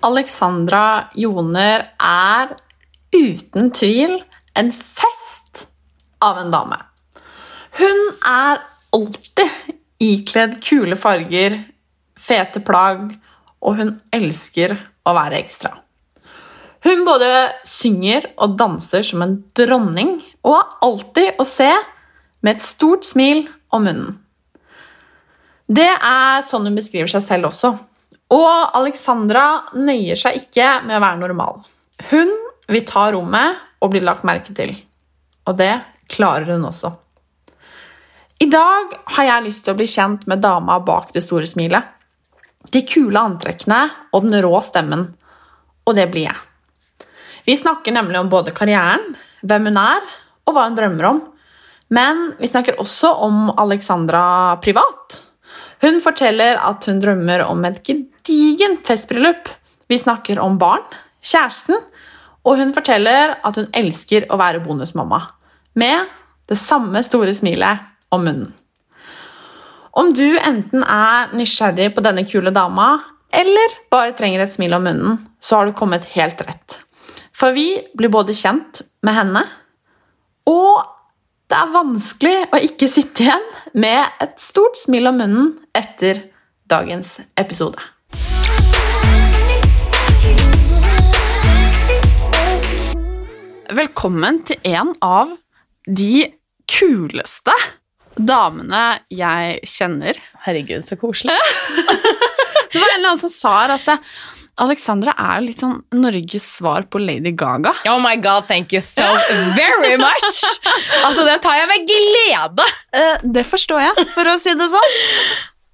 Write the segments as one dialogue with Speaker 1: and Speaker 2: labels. Speaker 1: Alexandra Joner er uten tvil en fest av en dame. Hun er alltid ikledd kule farger, fete plagg, og hun elsker å være ekstra. Hun både synger og danser som en dronning, og er alltid å se med et stort smil om munnen. Det er sånn hun beskriver seg selv også. Og Alexandra nøyer seg ikke med å være normal. Hun vil ta rommet og bli lagt merke til. Og det klarer hun også. I dag har jeg lyst til å bli kjent med dama bak det store smilet. De kule antrekkene og den rå stemmen. Og det blir jeg. Vi snakker nemlig om både karrieren, hvem hun er, og hva hun drømmer om. Men vi snakker også om Alexandra privat. Hun forteller at hun drømmer om et gedigent festbryllup. Vi snakker om barn, kjæresten, og hun forteller at hun elsker å være bonusmamma. Med det samme store smilet om munnen. Om du enten er nysgjerrig på denne kule dama, eller bare trenger et smil om munnen, så har du kommet helt rett. For vi blir både kjent med henne, og det er vanskelig å ikke sitte igjen med et stort smil om munnen etter dagens episode. Velkommen til en av de kuleste damene jeg kjenner.
Speaker 2: Herregud, så koselig.
Speaker 1: Det var en eller annen som sa her at eh, Alexandra er jo litt sånn Norges svar på Lady Gaga.
Speaker 2: Oh my god, thank you so very much! Altså, Den tar jeg med glede!
Speaker 1: Eh, Det forstår jeg, for å si det sånn.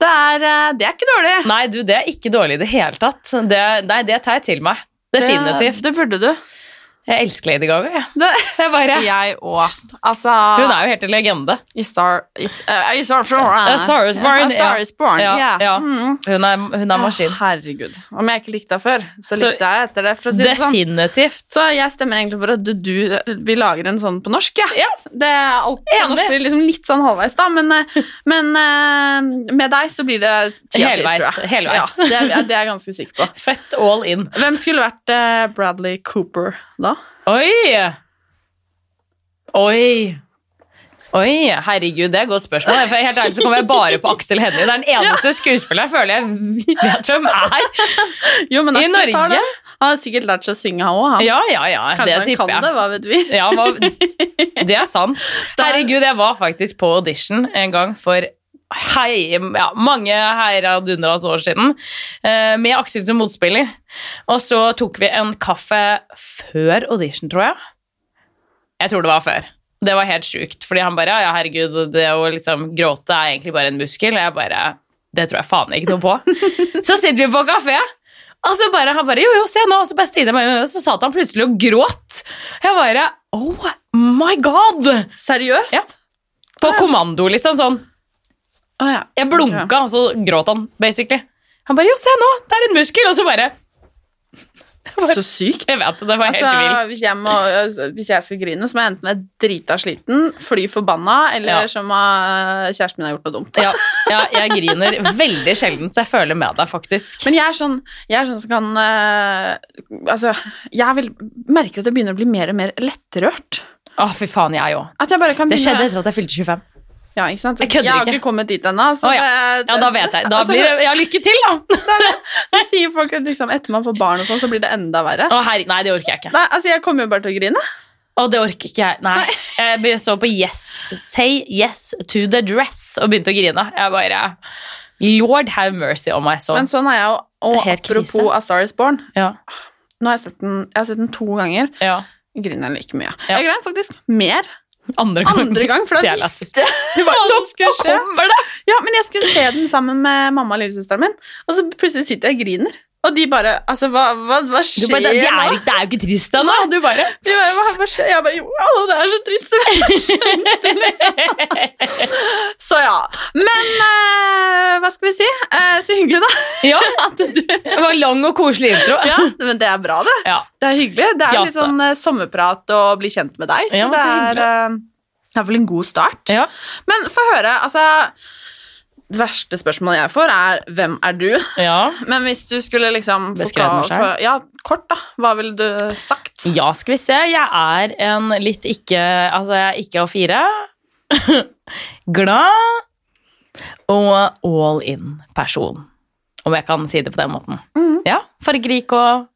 Speaker 1: Det er, eh, det er ikke dårlig.
Speaker 2: Nei, du, det er ikke dårlig i det hele tatt. Det, nei, det tar jeg til meg. Definitivt.
Speaker 1: Det, det burde du.
Speaker 2: Jeg elsker Lady Gaga, jeg.
Speaker 1: Det,
Speaker 2: jeg bare,
Speaker 1: jeg òg. Altså
Speaker 2: Hun er jo helt en legende.
Speaker 1: I Star is, eh, I star, Born,
Speaker 2: A Star is Born,
Speaker 1: A Star
Speaker 2: ja.
Speaker 1: is born.
Speaker 2: Ja,
Speaker 1: ja.
Speaker 2: ja.
Speaker 1: Mm.
Speaker 2: Hun er, hun er maskin.
Speaker 1: Herregud. Om jeg ikke likte deg før, så
Speaker 2: Så-
Speaker 1: likte jeg etter det. for å si det sånn.
Speaker 2: Definitivt.
Speaker 1: Så jeg stemmer egentlig for at du, du Vi lager en sånn på norsk, jeg.
Speaker 2: Ja.
Speaker 1: Det er alt på
Speaker 2: Enig.
Speaker 1: norsk blir liksom litt sånn halvveis, da. Men, eh, men eh, med deg så blir det ti av ti,
Speaker 2: Helveis,
Speaker 1: tror jeg.
Speaker 2: helveis.
Speaker 1: Ja, det, er- det er jeg ganske sikker på.
Speaker 2: Født all in.
Speaker 1: Hvem skulle vært eh, Bradley Cooper da?
Speaker 2: Oi! Oi! Oi, herregud, det er et godt spørsmål. For helt ærlig så kommer jeg bare på Aksel Hennie. Det er den eneste skuespilleren jeg føler jeg vet hvem er.
Speaker 1: Jo, men
Speaker 2: I
Speaker 1: Aksel tar
Speaker 2: Norge?
Speaker 1: det. Han har sikkert lært seg å synge, han òg.
Speaker 2: Ja, ja, ja.
Speaker 1: Kanskje
Speaker 2: det
Speaker 1: han
Speaker 2: tipper
Speaker 1: kan
Speaker 2: jeg.
Speaker 1: det, hva vet vi.
Speaker 2: Ja, hva- det er sant. Herregud, jeg var faktisk på audition en gang for hei, ja, mange heiradundras år siden, eh, med Aksel som motspiller. Og så tok vi en kaffe før audition, tror jeg. Jeg tror det var før. Det var helt sjukt, fordi han bare ja, ja, herregud, det å liksom gråte er egentlig bare en muskel. Jeg bare Det tror jeg faen ikke noe på. Så sitter vi på kafé, og så bare, han bare, jo, jo, se nå, og så bare stirret jeg meg, i øynene, og så satt han plutselig og gråt. Jeg bare, oh my god!
Speaker 1: Seriøst?
Speaker 2: Ja. På kommando, liksom, sånn.
Speaker 1: Å, ja.
Speaker 2: Jeg blunka, og så gråt han, basically. Han bare, jo, se nå, det er en muskel, og så bare,
Speaker 1: Ok. Så sykt.
Speaker 2: jeg vet det, det var helt
Speaker 1: Altså,
Speaker 2: vilt.
Speaker 1: hvis, jeg må, altså, hvis jeg skal grine, så må jeg enten være drita sliten, fly forbanna, eller
Speaker 2: Ja.
Speaker 1: som eh, kjæresten min har gjort noe dumt.
Speaker 2: Ja, ja, jeg griner veldig sjelden, så jeg føler med deg, faktisk.
Speaker 1: Men jeg er sånn, jeg er sånn som kan eh, Altså, jeg vil merke at jeg begynner å bli mer og mer lettrørt.
Speaker 2: Å, fy faen, jeg òg.
Speaker 1: At jeg bare kan
Speaker 2: Det
Speaker 1: begynne-
Speaker 2: skjedde etter at jeg fylte 25.
Speaker 1: Ja, ikke sant?
Speaker 2: Jeg kødder
Speaker 1: har
Speaker 2: ikke.
Speaker 1: ikke kommet dit ennå. så
Speaker 2: Å, ja.
Speaker 1: det-
Speaker 2: ja, da vet jeg. Da
Speaker 1: Altså,
Speaker 2: blir det ja, lykke til, da!
Speaker 1: Da sier folk at liksom, etter man får barn, og sånn, så blir det enda verre.
Speaker 2: Å, herregud, nei, det orker jeg ikke.
Speaker 1: Nei, altså, Jeg kommer jo bare til å grine.
Speaker 2: Å, det orker ikke jeg. Nei. Jeg be- så på Yes, Say Yes to the Dress og begynte å grine. Jeg bare Lord have mercy on my soul.
Speaker 1: Men sånn er jeg jo. Og
Speaker 2: Det er helt
Speaker 1: apropos
Speaker 2: krise.
Speaker 1: A Star Is Born,
Speaker 2: Ja,
Speaker 1: nå har jeg sett den, jeg har sett den to ganger.
Speaker 2: ja.
Speaker 1: Jeg Griner like mye.
Speaker 2: Ja.
Speaker 1: Jeg grein faktisk mer
Speaker 2: Andre gang.
Speaker 1: andre gang, for
Speaker 2: Det
Speaker 1: da
Speaker 2: er
Speaker 1: visste jeg hva som skulle skje. Ja, men jeg skulle se den sammen med mamma og lillesøsteren min, og så plutselig sitter jeg og griner. Og de bare Altså, hva, hva, hva
Speaker 2: Du
Speaker 1: skjer
Speaker 2: bare, det, det, er,
Speaker 1: nå?
Speaker 2: ikke- det er jo ikke trist ennå. Du bare
Speaker 1: De bare, hva, hva skjer? Jeg bare Jo, å, det er så trist. men jeg skjønte det. så ja. Men eh, hva skal vi si? Eh, så hyggelig, da.
Speaker 2: Ja,
Speaker 1: At du
Speaker 2: det var lang og koselig intro.
Speaker 1: Ja, men det er bra, det.
Speaker 2: Ja.
Speaker 1: Det er hyggelig. Det er jo litt
Speaker 2: Fjas, da.
Speaker 1: sånn eh, sommerprat og bli kjent med deg, så
Speaker 2: Ja, men
Speaker 1: det
Speaker 2: så
Speaker 1: er eh, det er vel en god start.
Speaker 2: Ja.
Speaker 1: Men få høre, altså Det verste spørsmålet jeg får, er 'Hvem er du?'
Speaker 2: Ja.
Speaker 1: Men hvis du skulle liksom
Speaker 2: Beskrevet meg selv?
Speaker 1: forkla- for- Ja, kort, da. Hva ville du sagt?
Speaker 2: Ja, skal vi se. Jeg er en litt ikke Altså, jeg er ikke av fire. Glad og all in-person. Om jeg kan si det på den måten.
Speaker 1: Mhm.
Speaker 2: Ja, Fargerik og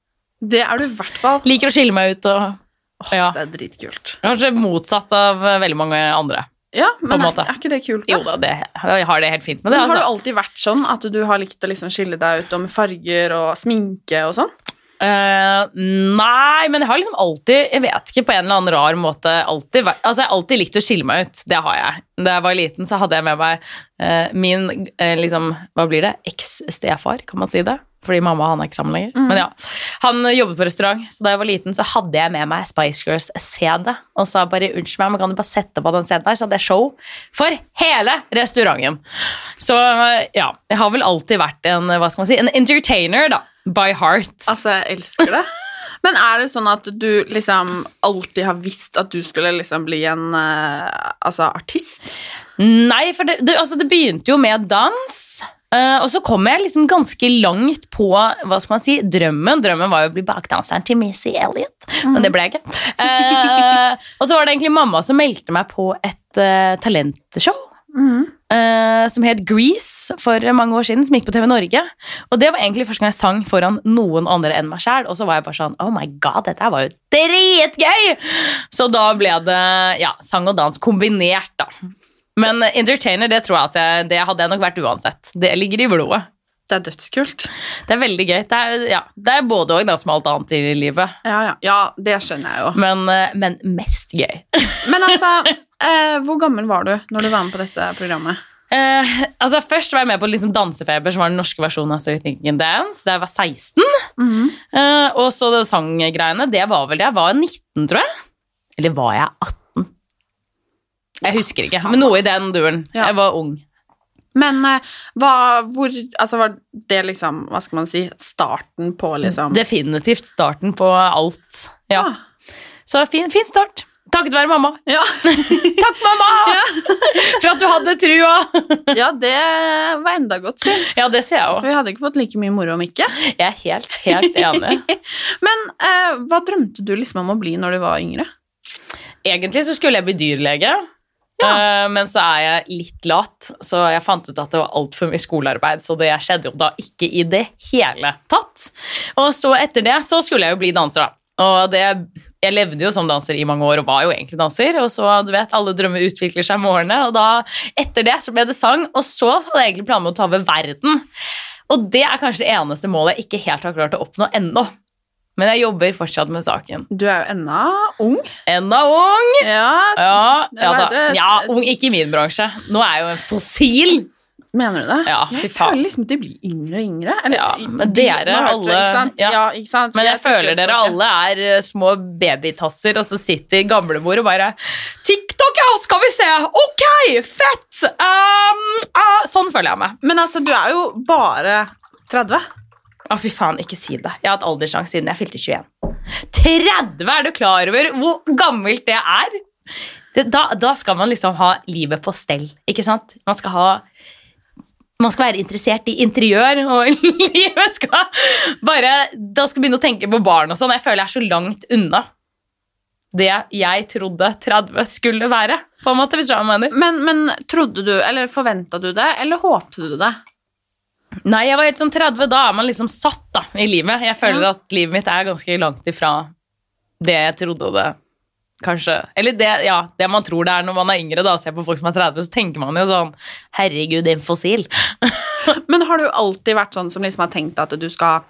Speaker 1: Det er du i hvert fall.
Speaker 2: liker å skille meg ut og ja.
Speaker 1: Det er dritkult.
Speaker 2: Kanskje motsatt av eh, veldig mange andre.
Speaker 1: Ja, men er,
Speaker 2: måte.
Speaker 1: er ikke det kult? da?
Speaker 2: Jo da, det, jeg har det helt fint med det.
Speaker 1: Men har du
Speaker 2: Altså.
Speaker 1: alltid vært sånn at du har likt å liksom skille deg ut om farger og sminke og sånn?
Speaker 2: Eh, nei, men jeg har liksom alltid Jeg vet ikke, på en eller annen rar måte alltid, vært- Altså, jeg har alltid likt å skille meg ut. Det har jeg. Da jeg var liten, så hadde jeg med meg eh, min eh, liksom, Hva blir det? Eks-stefar, kan man si det? Fordi mamma og han er ikke sammen lenger. Men ja, Han jobbet på restaurant, så da jeg var liten, så hadde jeg med meg Spice Girls-CD. Og sa bare 'unnskyld meg, men kan du bare sette på den CD-en der?' Så hadde jeg show for hele restauranten. Så eh, ja, jeg har vel alltid vært en hva skal man si, en entertainer, da. By heart.
Speaker 1: Altså, jeg elsker det. Men er det sånn at du liksom alltid har visst at du skulle liksom bli en eh, altså, artist?
Speaker 2: Nei, for det, det, altså, det begynte jo med dans. eh, og så kom jeg liksom ganske langt på hva skal man si, drømmen. Drømmen var jo å bli bakdanseren til Missy Elliot, men det ble jeg ikke. Eh, og så var det egentlig mamma som meldte meg på et eh, talentshow. eh, som het Grease for mange år siden, som gikk på TV Norge. Og det var egentlig første gang jeg sang foran noen andre enn meg sjæl. Og så var jeg bare sånn Oh my god, dette her var jo dritgøy! Så da ble det ja, sang og dans kombinert, da. Men eh, entertainer, det tror jeg at jeg, det hadde jeg nok vært uansett. Det ligger i blodet.
Speaker 1: Det er dødskult.
Speaker 2: Det er veldig gøy. Det er, ja, det er både og, da, som alt annet i livet.
Speaker 1: Ja, ja. ja, det skjønner jeg jo.
Speaker 2: Men, eh, men mest gøy.
Speaker 1: Men altså, eh, hvor gammel var du når du var med på dette programmet?
Speaker 2: Eh, altså Først var jeg med på liksom Dansefeber, som var den norske versjonen av So You Think You Can Dance, da jeg var 16. Eh, og så det sanggreiene, det var vel det. Jeg var 19, tror jeg. Eller var jeg 18? Jeg husker ikke, men noe i den duren.
Speaker 1: Ja.
Speaker 2: Jeg var ung.
Speaker 1: Men eh, hva, hvor, altså, var det liksom, hva skal man si, starten på liksom
Speaker 2: Definitivt starten på alt. Ja.
Speaker 1: Ah.
Speaker 2: Så fin, fin start. Takket være mamma.
Speaker 1: Ja.
Speaker 2: Takk, mamma! For at du hadde trua!
Speaker 1: ja, det var enda godt, si.
Speaker 2: Ja, det ser jeg
Speaker 1: For
Speaker 2: òg.
Speaker 1: vi hadde ikke fått like mye moro om ikke.
Speaker 2: Jeg er helt, helt enig.
Speaker 1: Men eh, hva drømte du liksom om å bli når du var yngre?
Speaker 2: Egentlig så skulle jeg bli dyrlege, eh, men så er jeg litt lat, så jeg fant ut at det var altfor mye skolearbeid, så det skjedde jo da ikke i det hele tatt. Og så etter det så skulle jeg jo bli danser, da. Og det, jeg levde jo som danser i mange år og var jo egentlig danser, og så du vet, alle drømmer utvikler seg med årene, og da etter det så ble det sang, og så hadde jeg egentlig planer med å ta over verden. Og det er kanskje det eneste målet jeg ikke helt har klart å oppnå ennå. Men jeg jobber fortsatt med saken.
Speaker 1: Du er jo ennå ung.
Speaker 2: Enda ung!
Speaker 1: Ja,
Speaker 2: Ja,
Speaker 1: Det
Speaker 2: ja
Speaker 1: var
Speaker 2: da.
Speaker 1: det.
Speaker 2: Ja, ung, ikke i min bransje. Nå er jeg jo en fossil.
Speaker 1: Mener du det?
Speaker 2: Ja, fy
Speaker 1: jeg
Speaker 2: faen.
Speaker 1: føler liksom at de blir yngre og yngre. Eller,
Speaker 2: Ja, men
Speaker 1: de-
Speaker 2: dere
Speaker 1: nå hørte
Speaker 2: alle-
Speaker 1: du, ikke sant?
Speaker 2: ja.
Speaker 1: Ja. ikke sant?
Speaker 2: Men jeg
Speaker 1: er
Speaker 2: føler dere
Speaker 1: tilbake.
Speaker 2: alle er eh, små babytasser, og så sitter gamlemor og bare TikTok, ja, skal vi se! Ok, fett! Ehm, ah, sånn føler jeg meg.
Speaker 1: Men altså, du er jo bare 30.
Speaker 2: Å, fy faen, ikke si det. Jeg har hatt alderssjanse siden jeg fylte 21. 30! Er du klar over hvor gammelt det er? Det, da, da skal man liksom ha livet på stell, ikke sant? Man skal ha man skal være interessert i interiør, og livet skal bare Da skal begynne å tenke på barn og sånn. Jeg føler jeg er så langt unna. det jeg trodde 30 skulle være. På en måte, hvis du skjønner hva jeg mener.
Speaker 1: Men, men trodde du, eller forventa du det, eller håpte du det?
Speaker 2: Nei, jeg var helt sånn 30. Da er man liksom satt da, i livet. Jeg føler at livet mitt er ganske langt ifra det jeg trodde det Kanskje. Eller det, ja, det man tror det er når man er yngre. da, Ser på folk som er 30, så tenker man jo sånn Herregud, en fossil.
Speaker 1: Men har du alltid vært sånn som liksom har tenkt at du skal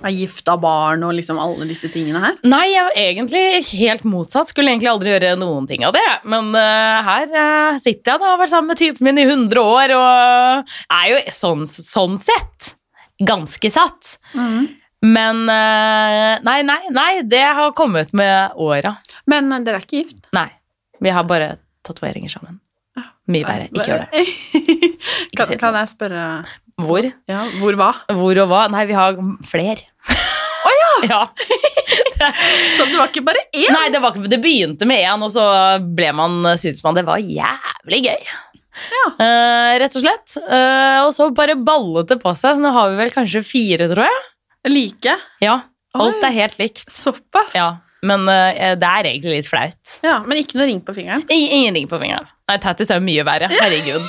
Speaker 1: ha gifta barn og liksom alle disse tingene her?
Speaker 2: Nei, jeg var egentlig helt motsatt. Skulle egentlig aldri gjøre noen ting av det. Men eh, her eh, sitter jeg da og har vært sammen med typen min i 100 år og er jo sånn, sånn sett ganske satt.
Speaker 1: Mm.
Speaker 2: Men eh, nei, nei, nei, det har kommet med åra.
Speaker 1: Men dere er ikke gift.
Speaker 2: Nei. Vi har bare tatoveringer sammen. Mye verre. Ikke gjør det. Ikke si
Speaker 1: kan,
Speaker 2: det.
Speaker 1: kan jeg spørre
Speaker 2: Hvor?
Speaker 1: ja, Hvor hva?
Speaker 2: Hvor og hva? Nei, vi har flere. Å ja!
Speaker 1: Så det var ikke bare én?
Speaker 2: Nei, det, var, ikke- det begynte med én, og så ble man, syntes man det var jævlig gøy. Eh, rett og slett. Eh, og så bare ballet det på seg. Så nå har vi vel kanskje fire, tror jeg.
Speaker 1: Like?
Speaker 2: Ja, Alt
Speaker 1: Oi.
Speaker 2: er helt likt.
Speaker 1: Såpass?
Speaker 2: Ja, Men eh, det er egentlig litt flaut.
Speaker 1: Ja, Men ikke noe ring på fingeren?
Speaker 2: Ingen, ingen ring på fingeren. Nei, tattis er jo mye verre. Herregud.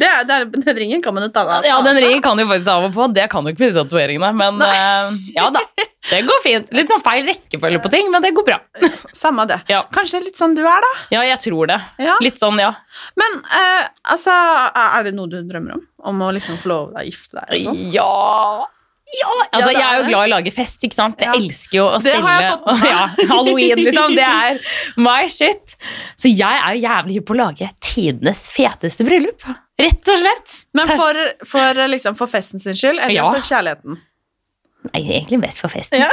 Speaker 1: Det er, det er, den ringen kan man jo ta av.
Speaker 2: Ja, Den ringen kan du jo faktisk av og på. Det kan du ikke med de tatoveringene. Men eh, ja da, det går fint. Litt sånn feil rekkefølge på ting, men det går bra.
Speaker 1: Samme det.
Speaker 2: Ja.
Speaker 1: Kanskje litt sånn du er, da.
Speaker 2: Ja, jeg tror det.
Speaker 1: Ja.
Speaker 2: Litt sånn, ja.
Speaker 1: Men eh, altså, er det noe du drømmer om? Om å liksom få lov til å gifte deg? og sånn?
Speaker 2: Ja ja, altså,
Speaker 1: det er
Speaker 2: Jeg er jo
Speaker 1: det.
Speaker 2: glad i å lage fest. ikke sant? Jeg
Speaker 1: Ja.
Speaker 2: elsker jo å
Speaker 1: Det
Speaker 2: stelle.
Speaker 1: har jeg fått med meg.
Speaker 2: ja, Halloween, liksom. Det er my shit. Så jeg er jo jævlig hypp på å lage tidenes feteste bryllup. Rett og slett.
Speaker 1: Men for, for, eh, liksom, for festen sin skyld, eller
Speaker 2: Ja.
Speaker 1: for kjærligheten?
Speaker 2: Nei, egentlig mest for festen.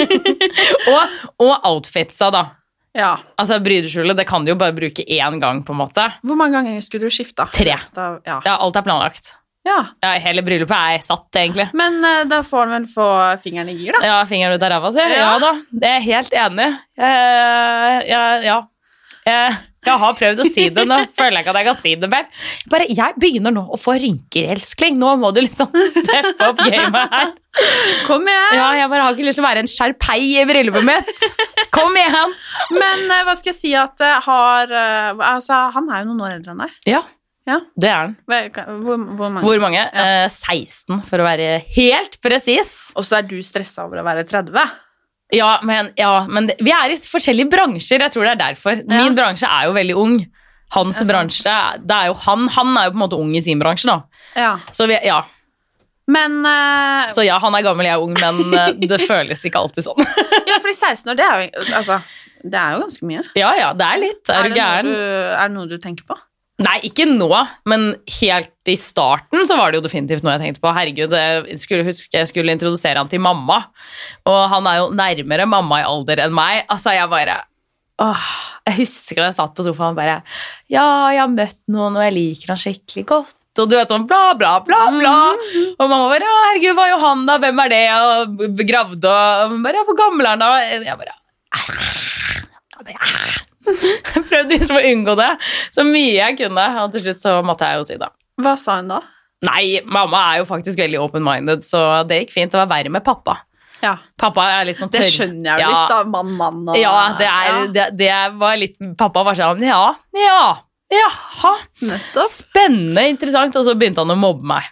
Speaker 2: og, og outfitsa, da.
Speaker 1: Ja.
Speaker 2: Altså Brydeskjulet det kan du jo bare bruke én gang. på en måte.
Speaker 1: Hvor mange ganger skulle du skifta?
Speaker 2: Tre.
Speaker 1: Da, ja.
Speaker 2: Ja, alt er planlagt.
Speaker 1: ja.
Speaker 2: Ja, hele bryllupet er satt, egentlig.
Speaker 1: Men eh, da får han vel få fingeren i gir, da.
Speaker 2: Ja, fingeren ut av ræva si. Ja.
Speaker 1: Ja.
Speaker 2: da, det er jeg helt enig. i. Eh, jeg- ja. Eh, jeg har prøvd å si det nå. Føler jeg ikke at jeg kan si det mer. Bare, jeg begynner nå å få rynker, elskling. Nå må du liksom steppe opp gamet her.
Speaker 1: Kom igjen!
Speaker 2: Ja, jeg bare har ikke lyst til å være en sjarpei i bryllupet mitt. Kom igjen!
Speaker 1: Men eh, hva skal jeg si at eh, har eh, Altså, han er jo noen år eldre enn deg.
Speaker 2: Ja,
Speaker 1: Ja.
Speaker 2: det er den.
Speaker 1: Hva- Hvor, hvor mange?
Speaker 2: Hvor mange? Eh, 16, for å være helt presis.
Speaker 1: Og så er du stressa over å være 30.
Speaker 2: Ja, men, ja, men det, vi er i forskjellige bransjer. Jeg tror det er derfor. Min bransje er jo veldig ung. Hans bransje, det er jo han. Han er jo på en måte ung i sin bransje, da.
Speaker 1: Ja.
Speaker 2: Så, vi, ja.
Speaker 1: Men eh,
Speaker 2: så ja, han er gammel, jeg er ung, men eh, det føles ikke alltid sånn.
Speaker 1: Ja, fordi 16 år, det er jo, altså, det er jo ganske mye.
Speaker 2: Ja, ja, det er litt. Er,
Speaker 1: det
Speaker 2: du gæren?
Speaker 1: Noe du, er det noe du tenker på?
Speaker 2: Nei, ikke nå, men helt i starten så var det jo definitivt noe jeg tenkte på. Herregud, jeg skulle huske jeg skulle introdusere han til mamma, og han er jo nærmere mamma i alder enn meg. Altså, jeg bare Åh, jeg husker da jeg satt på sofaen og bare Ja, jeg har møtt noen, og jeg liker han skikkelig godt. Og du vet sånn bla, bla, bla, bla. Og mamma bare Å, herregud, hva er Johan, da? Hvem er det? Og begravde og hun bare Ja, hvor gammel er han, da? Jeg bare jeg prøvde liksom å unngå det så mye jeg kunne. Og til slutt så måtte jeg jo si det.
Speaker 1: Hva sa hun da?
Speaker 2: Nei, mamma er jo faktisk veldig open-minded, så det gikk fint. Det var verre med pappa.
Speaker 1: Ja,
Speaker 2: Pappa er litt sånn
Speaker 1: Det
Speaker 2: tørr.
Speaker 1: skjønner jeg jo
Speaker 2: Ja.
Speaker 1: litt, da. Mann, mann og
Speaker 2: Ja, det, er,
Speaker 1: Ja,
Speaker 2: Det, det var litt Pappa var sånn Ja, ja, jaha.
Speaker 1: nettopp.
Speaker 2: Spennende, interessant. Og så begynte han å mobbe meg.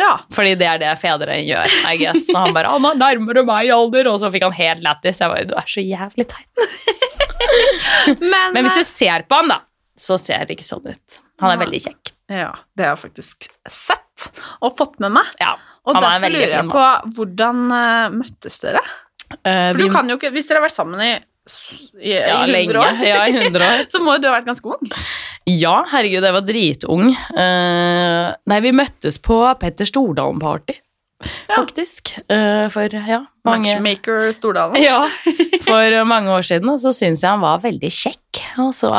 Speaker 1: Ja.
Speaker 2: Fordi det er det fedre gjør. I guess. Så han bare 'Han er nærmere meg i alder', og så fikk han helt lættis. Jeg bare 'Du er så jævlig teit'.
Speaker 1: Men, eh,
Speaker 2: Men hvis du ser på han, da, så ser det ikke sånn ut. Han er veldig kjekk.
Speaker 1: ja, det har jeg faktisk sett og fått med meg.
Speaker 2: Ja,
Speaker 1: Og
Speaker 2: han er en
Speaker 1: derfor
Speaker 2: veldig
Speaker 1: lurer jeg
Speaker 2: fin
Speaker 1: på hvordan eh, møttes dere?
Speaker 2: Eh,
Speaker 1: For
Speaker 2: vi-
Speaker 1: du kan jo ikke, Hvis dere har vært sammen i, s- i,
Speaker 2: ja,
Speaker 1: i 100
Speaker 2: lenge.
Speaker 1: år,
Speaker 2: Ja, i 100 år.
Speaker 1: så må jo du ha vært ganske ung.
Speaker 2: Ja, herregud, jeg var dritung. Eh, nei, vi møttes på Petter Stordalen-party, faktisk. Eh, for, ja, mange,
Speaker 1: Matchmaker Stordalen.
Speaker 2: ja, for mange år siden, og så syntes jeg han var veldig kjekk. Og så,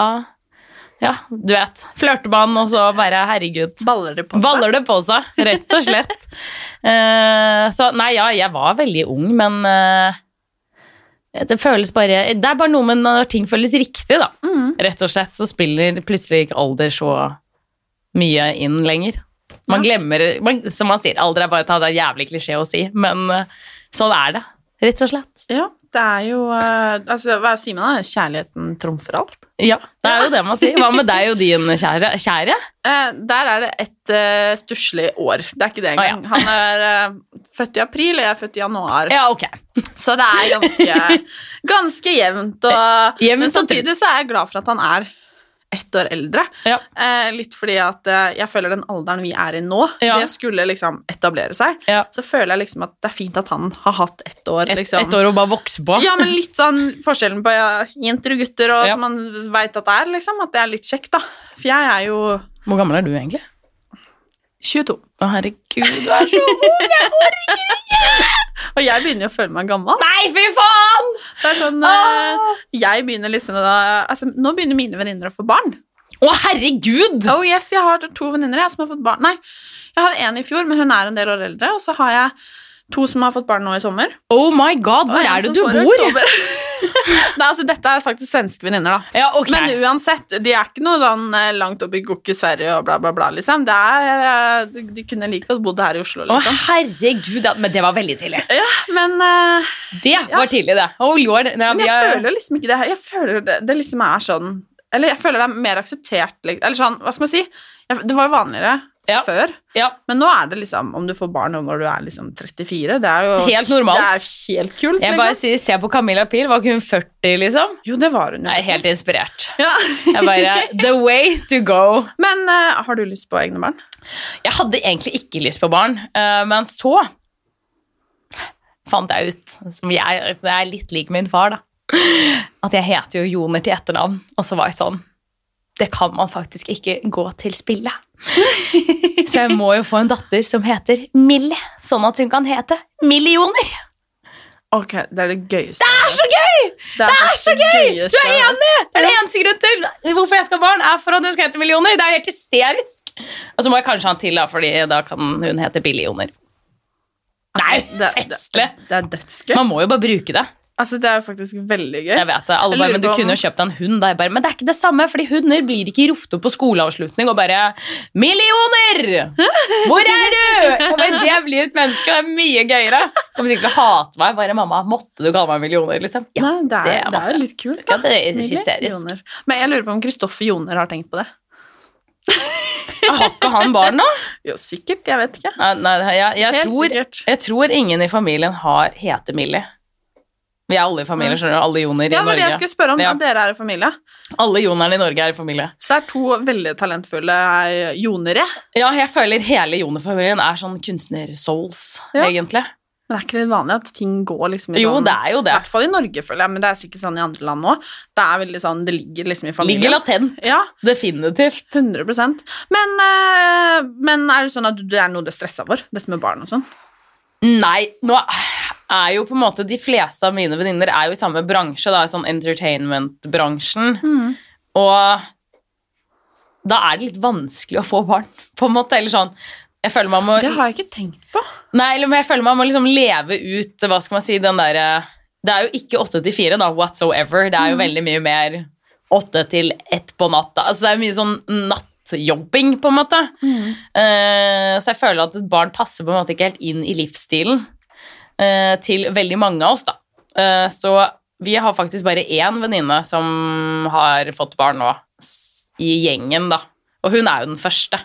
Speaker 2: ja, du vet, flørte man, og så bare, herregud.
Speaker 1: Baller det på seg.
Speaker 2: Baller det på seg, rett og slett. Eh, så nei, ja, jeg var veldig ung, men eh, det føles bare Det er bare noe med når ting føles riktig, da.
Speaker 1: Mm.
Speaker 2: Rett og slett så spiller plutselig ikke alder så mye inn lenger. Man glemmer man, Som man sier, alder er bare et det er en jævlig klisjé å si, men eh, sånn er det. Rett og slett.
Speaker 1: Ja. Det er jo eh, altså, Hva sier man da? Kjærligheten trumfer alt?
Speaker 2: Ja, det er jo det man sier. Hva med deg og din kjære? kjære?
Speaker 1: Eh, der er det et eh, stusslig år. Det er ikke det engang.
Speaker 2: Å, ja.
Speaker 1: Han er eh, født i april, og jeg er født i januar.
Speaker 2: Ja, ok.
Speaker 1: Så det er ganske, ganske jevnt. Og,
Speaker 2: Eh, Jevnt
Speaker 1: men
Speaker 2: og trutt.
Speaker 1: samtidig så er jeg glad for at han er ett år eldre.
Speaker 2: Ja.
Speaker 1: Eh, litt fordi at eh, jeg føler den alderen vi er i nå,
Speaker 2: Ja.
Speaker 1: det skulle liksom etablere seg.
Speaker 2: Ja.
Speaker 1: Så føler jeg liksom at det er fint at han har hatt ett år.
Speaker 2: Et,
Speaker 1: Liksom.
Speaker 2: et år å bare vokse på.
Speaker 1: Ja, men litt sånn forskjellen på ja, jenter og gutter, og
Speaker 2: Ja.
Speaker 1: som man veit at det er, liksom. At det er litt kjekt, da. For jeg er jo
Speaker 2: Hvor gammel er du egentlig?
Speaker 1: 22.
Speaker 2: Å, herregud, du er så
Speaker 1: Og jeg begynner jo å føle meg gammel.
Speaker 2: Nei, fy faen!
Speaker 1: Det er sånn,
Speaker 2: Ah!
Speaker 1: eh, jeg begynner liksom da, altså, Nå begynner mine venninner å få barn.
Speaker 2: Å, herregud!
Speaker 1: Oh yes, Jeg har to venninner jeg, som har fått barn. Nei, jeg hadde en i fjor, men hun er en del år eldre. Og så har jeg to som har fått barn nå i sommer.
Speaker 2: Oh my god,
Speaker 1: og
Speaker 2: hvor
Speaker 1: en
Speaker 2: er det
Speaker 1: som
Speaker 2: du
Speaker 1: får i
Speaker 2: bor?
Speaker 1: oktober. Nei, altså, dette er faktisk svenske venninner, da.
Speaker 2: Ja, ok.
Speaker 1: Men uansett, de er ikke noe sånn eh, langt opp i Gokke, Sverige og bla, bla, bla. liksom. Det er, eh, de- De kunne like godt bodd her i Oslo.
Speaker 2: Å,
Speaker 1: liksom.
Speaker 2: herregud, ja, men det var veldig tidlig.
Speaker 1: Men, eh,
Speaker 2: Det var tidlig, det. Oh lord. Nei,
Speaker 1: men
Speaker 2: vi
Speaker 1: jeg
Speaker 2: er-
Speaker 1: føler jo liksom ikke det her. Jeg føler det, det liksom er sånn Eller jeg føler det er mer akseptert. Liksom. Eller sånn, hva skal man si? Jeg, det var jo vanligere
Speaker 2: Ja.
Speaker 1: før.
Speaker 2: Ja.
Speaker 1: Men nå er det liksom, om du får barn nå når du er liksom 34, det er jo
Speaker 2: Helt normalt.
Speaker 1: Det er jo helt kult,
Speaker 2: Jeg
Speaker 1: liksom.
Speaker 2: bare sier, se på Camilla Pil, var ikke hun 40, liksom?
Speaker 1: Jo, det var hun jo.
Speaker 2: Jeg er helt inspirert.
Speaker 1: Ja.
Speaker 2: Jeg bare, the way to go.
Speaker 1: Men eh, har du lyst på egne barn?
Speaker 2: Jeg hadde egentlig ikke lyst på barn, eh, men så fant jeg ut, som jeg, det er litt lik min far da, at jeg heter jo Joner til etternavn, og så var jeg sånn, det kan man faktisk ikke gå til spille. Så jeg må jo få en datter som heter Millie, sånn at hun kan hete Millioner.
Speaker 1: Ok, det er det gøyeste.
Speaker 2: Det er så gøy!
Speaker 1: Det
Speaker 2: Det er så gøy! Du
Speaker 1: gøyeste.
Speaker 2: er enig! Det er det eneste grunnen til hvorfor jeg skal ha barn, er for at hun skal hete Millioner. Det er helt hysterisk. Og så må jeg kanskje ha en til, da, fordi da kan hun hete Billioner. Det er
Speaker 1: Altså,
Speaker 2: jo festlig!
Speaker 1: Det, det er dødsgøy.
Speaker 2: Man må jo bare bruke det.
Speaker 1: Altså, det er jo faktisk veldig gøy.
Speaker 2: Jeg vet det.
Speaker 1: Jeg
Speaker 2: Alle bare,
Speaker 1: lurer
Speaker 2: men du
Speaker 1: på om-
Speaker 2: kunne jo kjøpt deg en hund. Da. Jeg bare, men det er ikke det samme, fordi hunder blir ikke ropt opp på skoleavslutning og bare 'Millioner! Hvor er du?' Jeg bare, det blir et menneske, det er mye gøyere. Som sikkert hater meg. Bare 'Mamma, måtte du kalle meg millioner?' liksom. Ja,
Speaker 1: Nei, det er, det er,
Speaker 2: måtte jeg.
Speaker 1: jo litt kult.
Speaker 2: Ja, det er
Speaker 1: Mye
Speaker 2: hysterisk.
Speaker 1: Joner. Men jeg lurer på om Kristoffer Joner har tenkt på det.
Speaker 2: Har ikke han barn nå?
Speaker 1: Jo, sikkert. Jeg vet ikke.
Speaker 2: Nei, nei, jeg, jeg,
Speaker 1: Helt
Speaker 2: tror,
Speaker 1: sikkert.
Speaker 2: jeg tror ingen i familien har heter Millie. Vi er alle i familie, skjønner du. Alle joner i
Speaker 1: Ja, det var det jeg
Speaker 2: Norge.
Speaker 1: skulle spørre om.
Speaker 2: Ja.
Speaker 1: at Dere er i familie.
Speaker 2: Alle jonerne i Norge er i familie.
Speaker 1: Så det er to veldig talentfulle eh, jonere.
Speaker 2: Ja, jeg føler hele jonerfamilien er sånn kunstner-souls,
Speaker 1: Ja.
Speaker 2: egentlig.
Speaker 1: Men det er ikke litt vanlig at ting går liksom i
Speaker 2: Jo,
Speaker 1: sånn
Speaker 2: det er jo
Speaker 1: I
Speaker 2: det.
Speaker 1: hvert fall i Norge, føler jeg, men det er sikkert sånn i andre land òg. Det er veldig sånn, det ligger liksom i familien.
Speaker 2: Ligger latent.
Speaker 1: Ja,
Speaker 2: Definitivt.
Speaker 1: 100 men, eh, men er det sånn at du- det er noe du er stressa for, dette med barn og sånn?
Speaker 2: Nei, nå er jo på en måte De fleste av mine venninner er jo i samme bransje, da, sånn entertainment-bransjen. Og da er det litt vanskelig å få barn, på en måte. Eller sånn Jeg føler man må
Speaker 1: Det har jeg ikke tenkt på.
Speaker 2: Nei, eller men jeg føler man må liksom leve ut Hva skal man si, den der eh, Det er jo ikke 8 til 4 da, whatsoever Det er jo veldig mye mer 8 til 1 på natta Altså det er jo mye sånn nattjobbing på en måte Eh, Så jeg føler at et barn passer på en måte ikke helt inn i livsstilen eh, Til veldig mange av oss da Eh, Så vi har faktisk bare en venninne som har fått barn nå s- I gjengen da Og hun er jo den første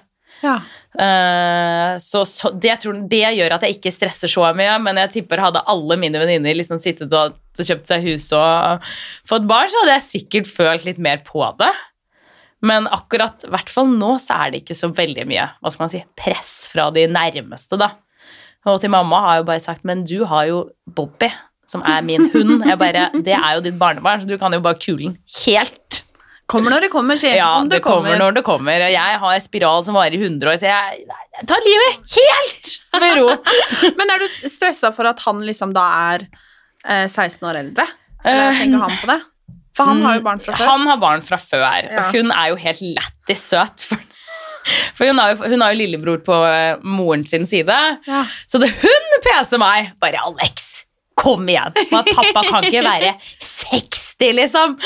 Speaker 1: Ja.
Speaker 2: Eh, så, så det, tror, det gjør at jeg ikke stresser så mye, men jeg tipper hadde alle mine venninner liksom sittet og kjøpt seg hus og fått barn, så hadde jeg sikkert følt litt mer på det. Men akkurat, i hvert fall nå, så er det ikke så veldig mye hva skal man si, press fra de nærmeste, da. Og til mamma har jeg jo bare sagt, men du har jo Bobby, som er min hund. Jeg bare, Det er jo ditt barnebarn, så du kan jo bare kule den helt.
Speaker 1: Kommer når det kommer, sier
Speaker 2: Ja,
Speaker 1: om
Speaker 2: det kommer. når det kommer. Og jeg har spiral som varer i 100 år, så jeg, jeg tar livet helt med ro.
Speaker 1: Men er du stressa for at han liksom da er eh, 16 år eldre? Eller tenker han på det? For han har jo barn fra før.
Speaker 2: Eh, mm, Han har barn fra før,
Speaker 1: Ja.
Speaker 2: og hun er jo helt lættis søt. For, for hun, har jo, hun har jo lillebror på eh, moren sin side,
Speaker 1: Ja.
Speaker 2: så det hun peser meg. Bare Alex, kom igjen! Men pappa kan ikke være 60, liksom.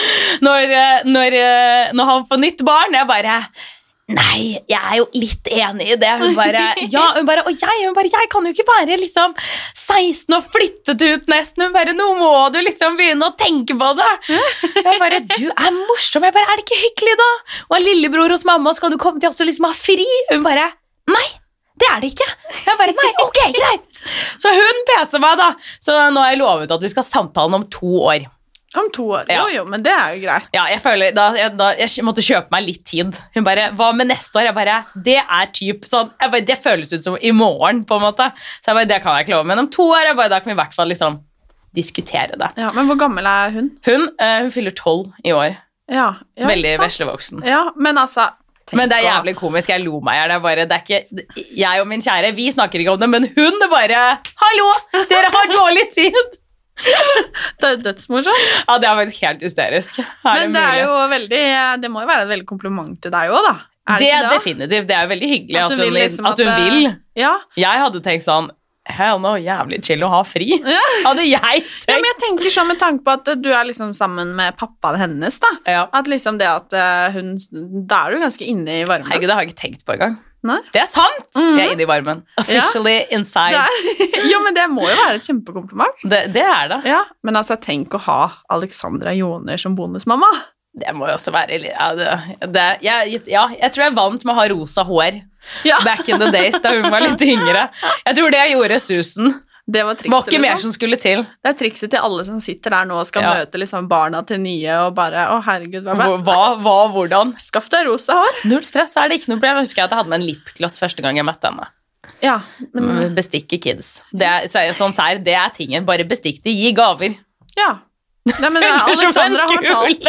Speaker 2: Når, eh, når, eh, når han får nytt barn, jeg bare Nei, jeg er jo litt enig i det. Hun bare, ja, hun bare, og jeg, hun bare, jeg kan jo ikke være liksom 16 og flyttet ut nesten. Hun bare, nå må du liksom begynne å tenke på det. Jeg bare, du er morsom. Jeg bare, er det ikke hyggelig da? Og en lillebror hos mamma, så kan du komme til oss og liksom ha fri. Hun bare, nei. Det er det ikke. Jeg bare, nei, ok, greit. Så hun peser meg, da. Så nå har jeg lovet at vi skal ha samtalen om to år.
Speaker 1: Om to år.
Speaker 2: Ja.
Speaker 1: Jo, jo, men det er jo greit.
Speaker 2: Ja, jeg føler da, jeg, da, jeg måtte kjøpe meg litt tid. Hun bare 'Hva med neste år?' Jeg bare Det er typ sånn jeg bare, Det føles ut som i morgen, på en måte. Så jeg bare, det kan jeg ikke love. Men om to år jeg bare, da kan vi i hvert fall liksom diskutere det.
Speaker 1: Ja, men hvor gammel er hun?
Speaker 2: Hun, eh, hun fyller tolv i år.
Speaker 1: Ja, ja,
Speaker 2: Veldig
Speaker 1: ikke sant?
Speaker 2: veslevoksen.
Speaker 1: Ja, men altså tenk
Speaker 2: Men det er
Speaker 1: å-
Speaker 2: jævlig komisk. Jeg lo meg i hjel. Det er bare- det er ikke- Jeg og min kjære vi snakker ikke om det, men hun bare 'Hallo, dere har dårlig tid!'
Speaker 1: Det er jo dødsmorsomt.
Speaker 2: Ja, Det er faktisk helt hysterisk. Er
Speaker 1: Men det er
Speaker 2: mulig?
Speaker 1: jo veldig eh, Det må jo være et veldig kompliment til deg òg, da. Er
Speaker 2: det,
Speaker 1: det, ikke det?
Speaker 2: definitivt. Det er jo veldig hyggelig at hun,
Speaker 1: vil liksom
Speaker 2: at hun
Speaker 1: at, eh,
Speaker 2: vil.
Speaker 1: Ja.
Speaker 2: Jeg hadde tenkt sånn Hell no, jævlig chill å ha fri. Hadde jeg
Speaker 1: ja, men
Speaker 2: tenkt.
Speaker 1: jeg tenker sånn med tanke på at eh, du er liksom sammen med pappaen hennes, da.
Speaker 2: Ja.
Speaker 1: At liksom det at eh, hun Da er du ganske inne i varmen.
Speaker 2: Herregud, det har jeg ikke tenkt på engang.
Speaker 1: Nei. Mhm.
Speaker 2: Det er sant! Jeg er inne i varmen. Officially inside.
Speaker 1: Det er, jo, men det må jo være et kjempekompliment.
Speaker 2: Det, det er det.
Speaker 1: Ja, Men altså, tenk å ha Alexandra Joner som bonusmamma.
Speaker 2: Det må jo også være litt- ja, det, det, jeg, ja, jeg tror jeg vant med å ha rosa hår
Speaker 1: Ja,
Speaker 2: back in the days da hun var litt yngre. Jeg tror det gjorde susen.
Speaker 1: Det var
Speaker 2: Det var
Speaker 1: trikset.
Speaker 2: ikke mer
Speaker 1: Liksom.
Speaker 2: som skulle til.
Speaker 1: Det er trikset til alle som sitter der nå og skal
Speaker 2: Ja.
Speaker 1: møte liksom barna til nye og bare Å, herregud, hva ble
Speaker 2: Hva, hva hva- hvordan?
Speaker 1: Skaff deg rosa hår.
Speaker 2: Null stress, er det ikke noe problem. Jeg husker at jeg hadde med en lipgloss første gang jeg møtte henne.
Speaker 1: Ja, men,
Speaker 2: Mm. Bestikke kids. Det er, så, sånn sær, det er tingen. Bare bestikk de, gi gaver.
Speaker 1: ja. Nei, men Alexandra har talt.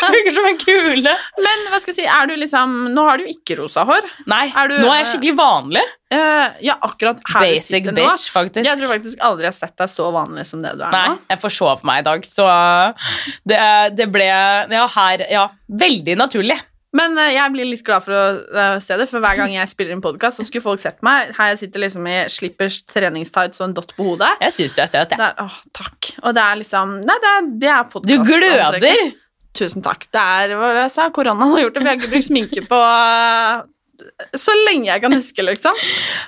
Speaker 2: Funker som en kule.
Speaker 1: Men hva skal jeg si, er du liksom Nå har du jo ikke rosa hår.
Speaker 2: Nei,
Speaker 1: Er du-
Speaker 2: nå er jeg skikkelig vanlig.
Speaker 1: Eh, ja, akkurat her
Speaker 2: Basic
Speaker 1: du sitter nå.
Speaker 2: bitch, faktisk.
Speaker 1: Jeg tror faktisk aldri jeg har sett deg så vanlig som det du er
Speaker 2: Nei,
Speaker 1: nå.
Speaker 2: jeg forsov meg i dag, så uh, det, det ble Ja, her Ja, veldig naturlig.
Speaker 1: Men eh, jeg blir litt glad for å eh, se det, for hver gang jeg spiller inn podkast, så skulle folk sett meg. Her jeg sitter liksom i slippers, treningstights og en dott på hodet.
Speaker 2: Jeg syns du er søt,
Speaker 1: Det
Speaker 2: jeg.
Speaker 1: er, åh, takk. Og det er liksom Nei, det er, det er podcast.
Speaker 2: Du gløder!
Speaker 1: Tusen takk. Det er hva var det jeg sa, koronaen har gjort det. Vi har ikke brukt sminke på eh, så lenge jeg kan huske, liksom.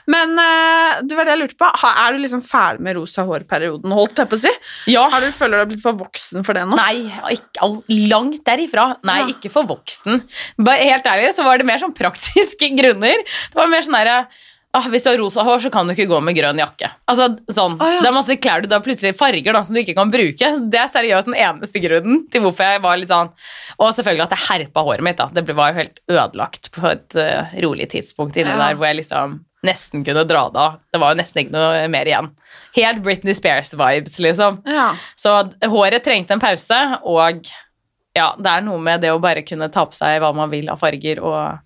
Speaker 1: Men eh, du var det jeg lurte på. Ha- Er du liksom ferdig med rosa hår-perioden, holdt jeg på å si?
Speaker 2: Ja.
Speaker 1: Har du, føler du har blitt for voksen for det nå?
Speaker 2: Nei, ikke, all, langt derifra. Nei,
Speaker 1: Ja.
Speaker 2: ikke for voksen. Bare helt ærlig så var det mer sånn praktiske grunner. Det var mer sånn derre ah, Hvis du har rosa hår, så kan du ikke gå med grønn jakke. Altså, sånn.
Speaker 1: Å, ja.
Speaker 2: Det er masse klær du da plutselig farger da, som du ikke kan bruke. Det er seriøst den eneste grunnen til hvorfor jeg var litt sånn Og selvfølgelig at jeg herpa håret mitt. da. Det ble- var jo helt ødelagt på et eh, rolig tidspunkt inni
Speaker 1: Ja.
Speaker 2: der hvor jeg liksom nesten kunne dra det av. Det var jo nesten ikke noe mer igjen. Helt Britney Spears-vibes, liksom.
Speaker 1: Ja.
Speaker 2: Så d- håret trengte en pause, og ja, det er noe med det å bare kunne ta på seg hva man vil av farger, og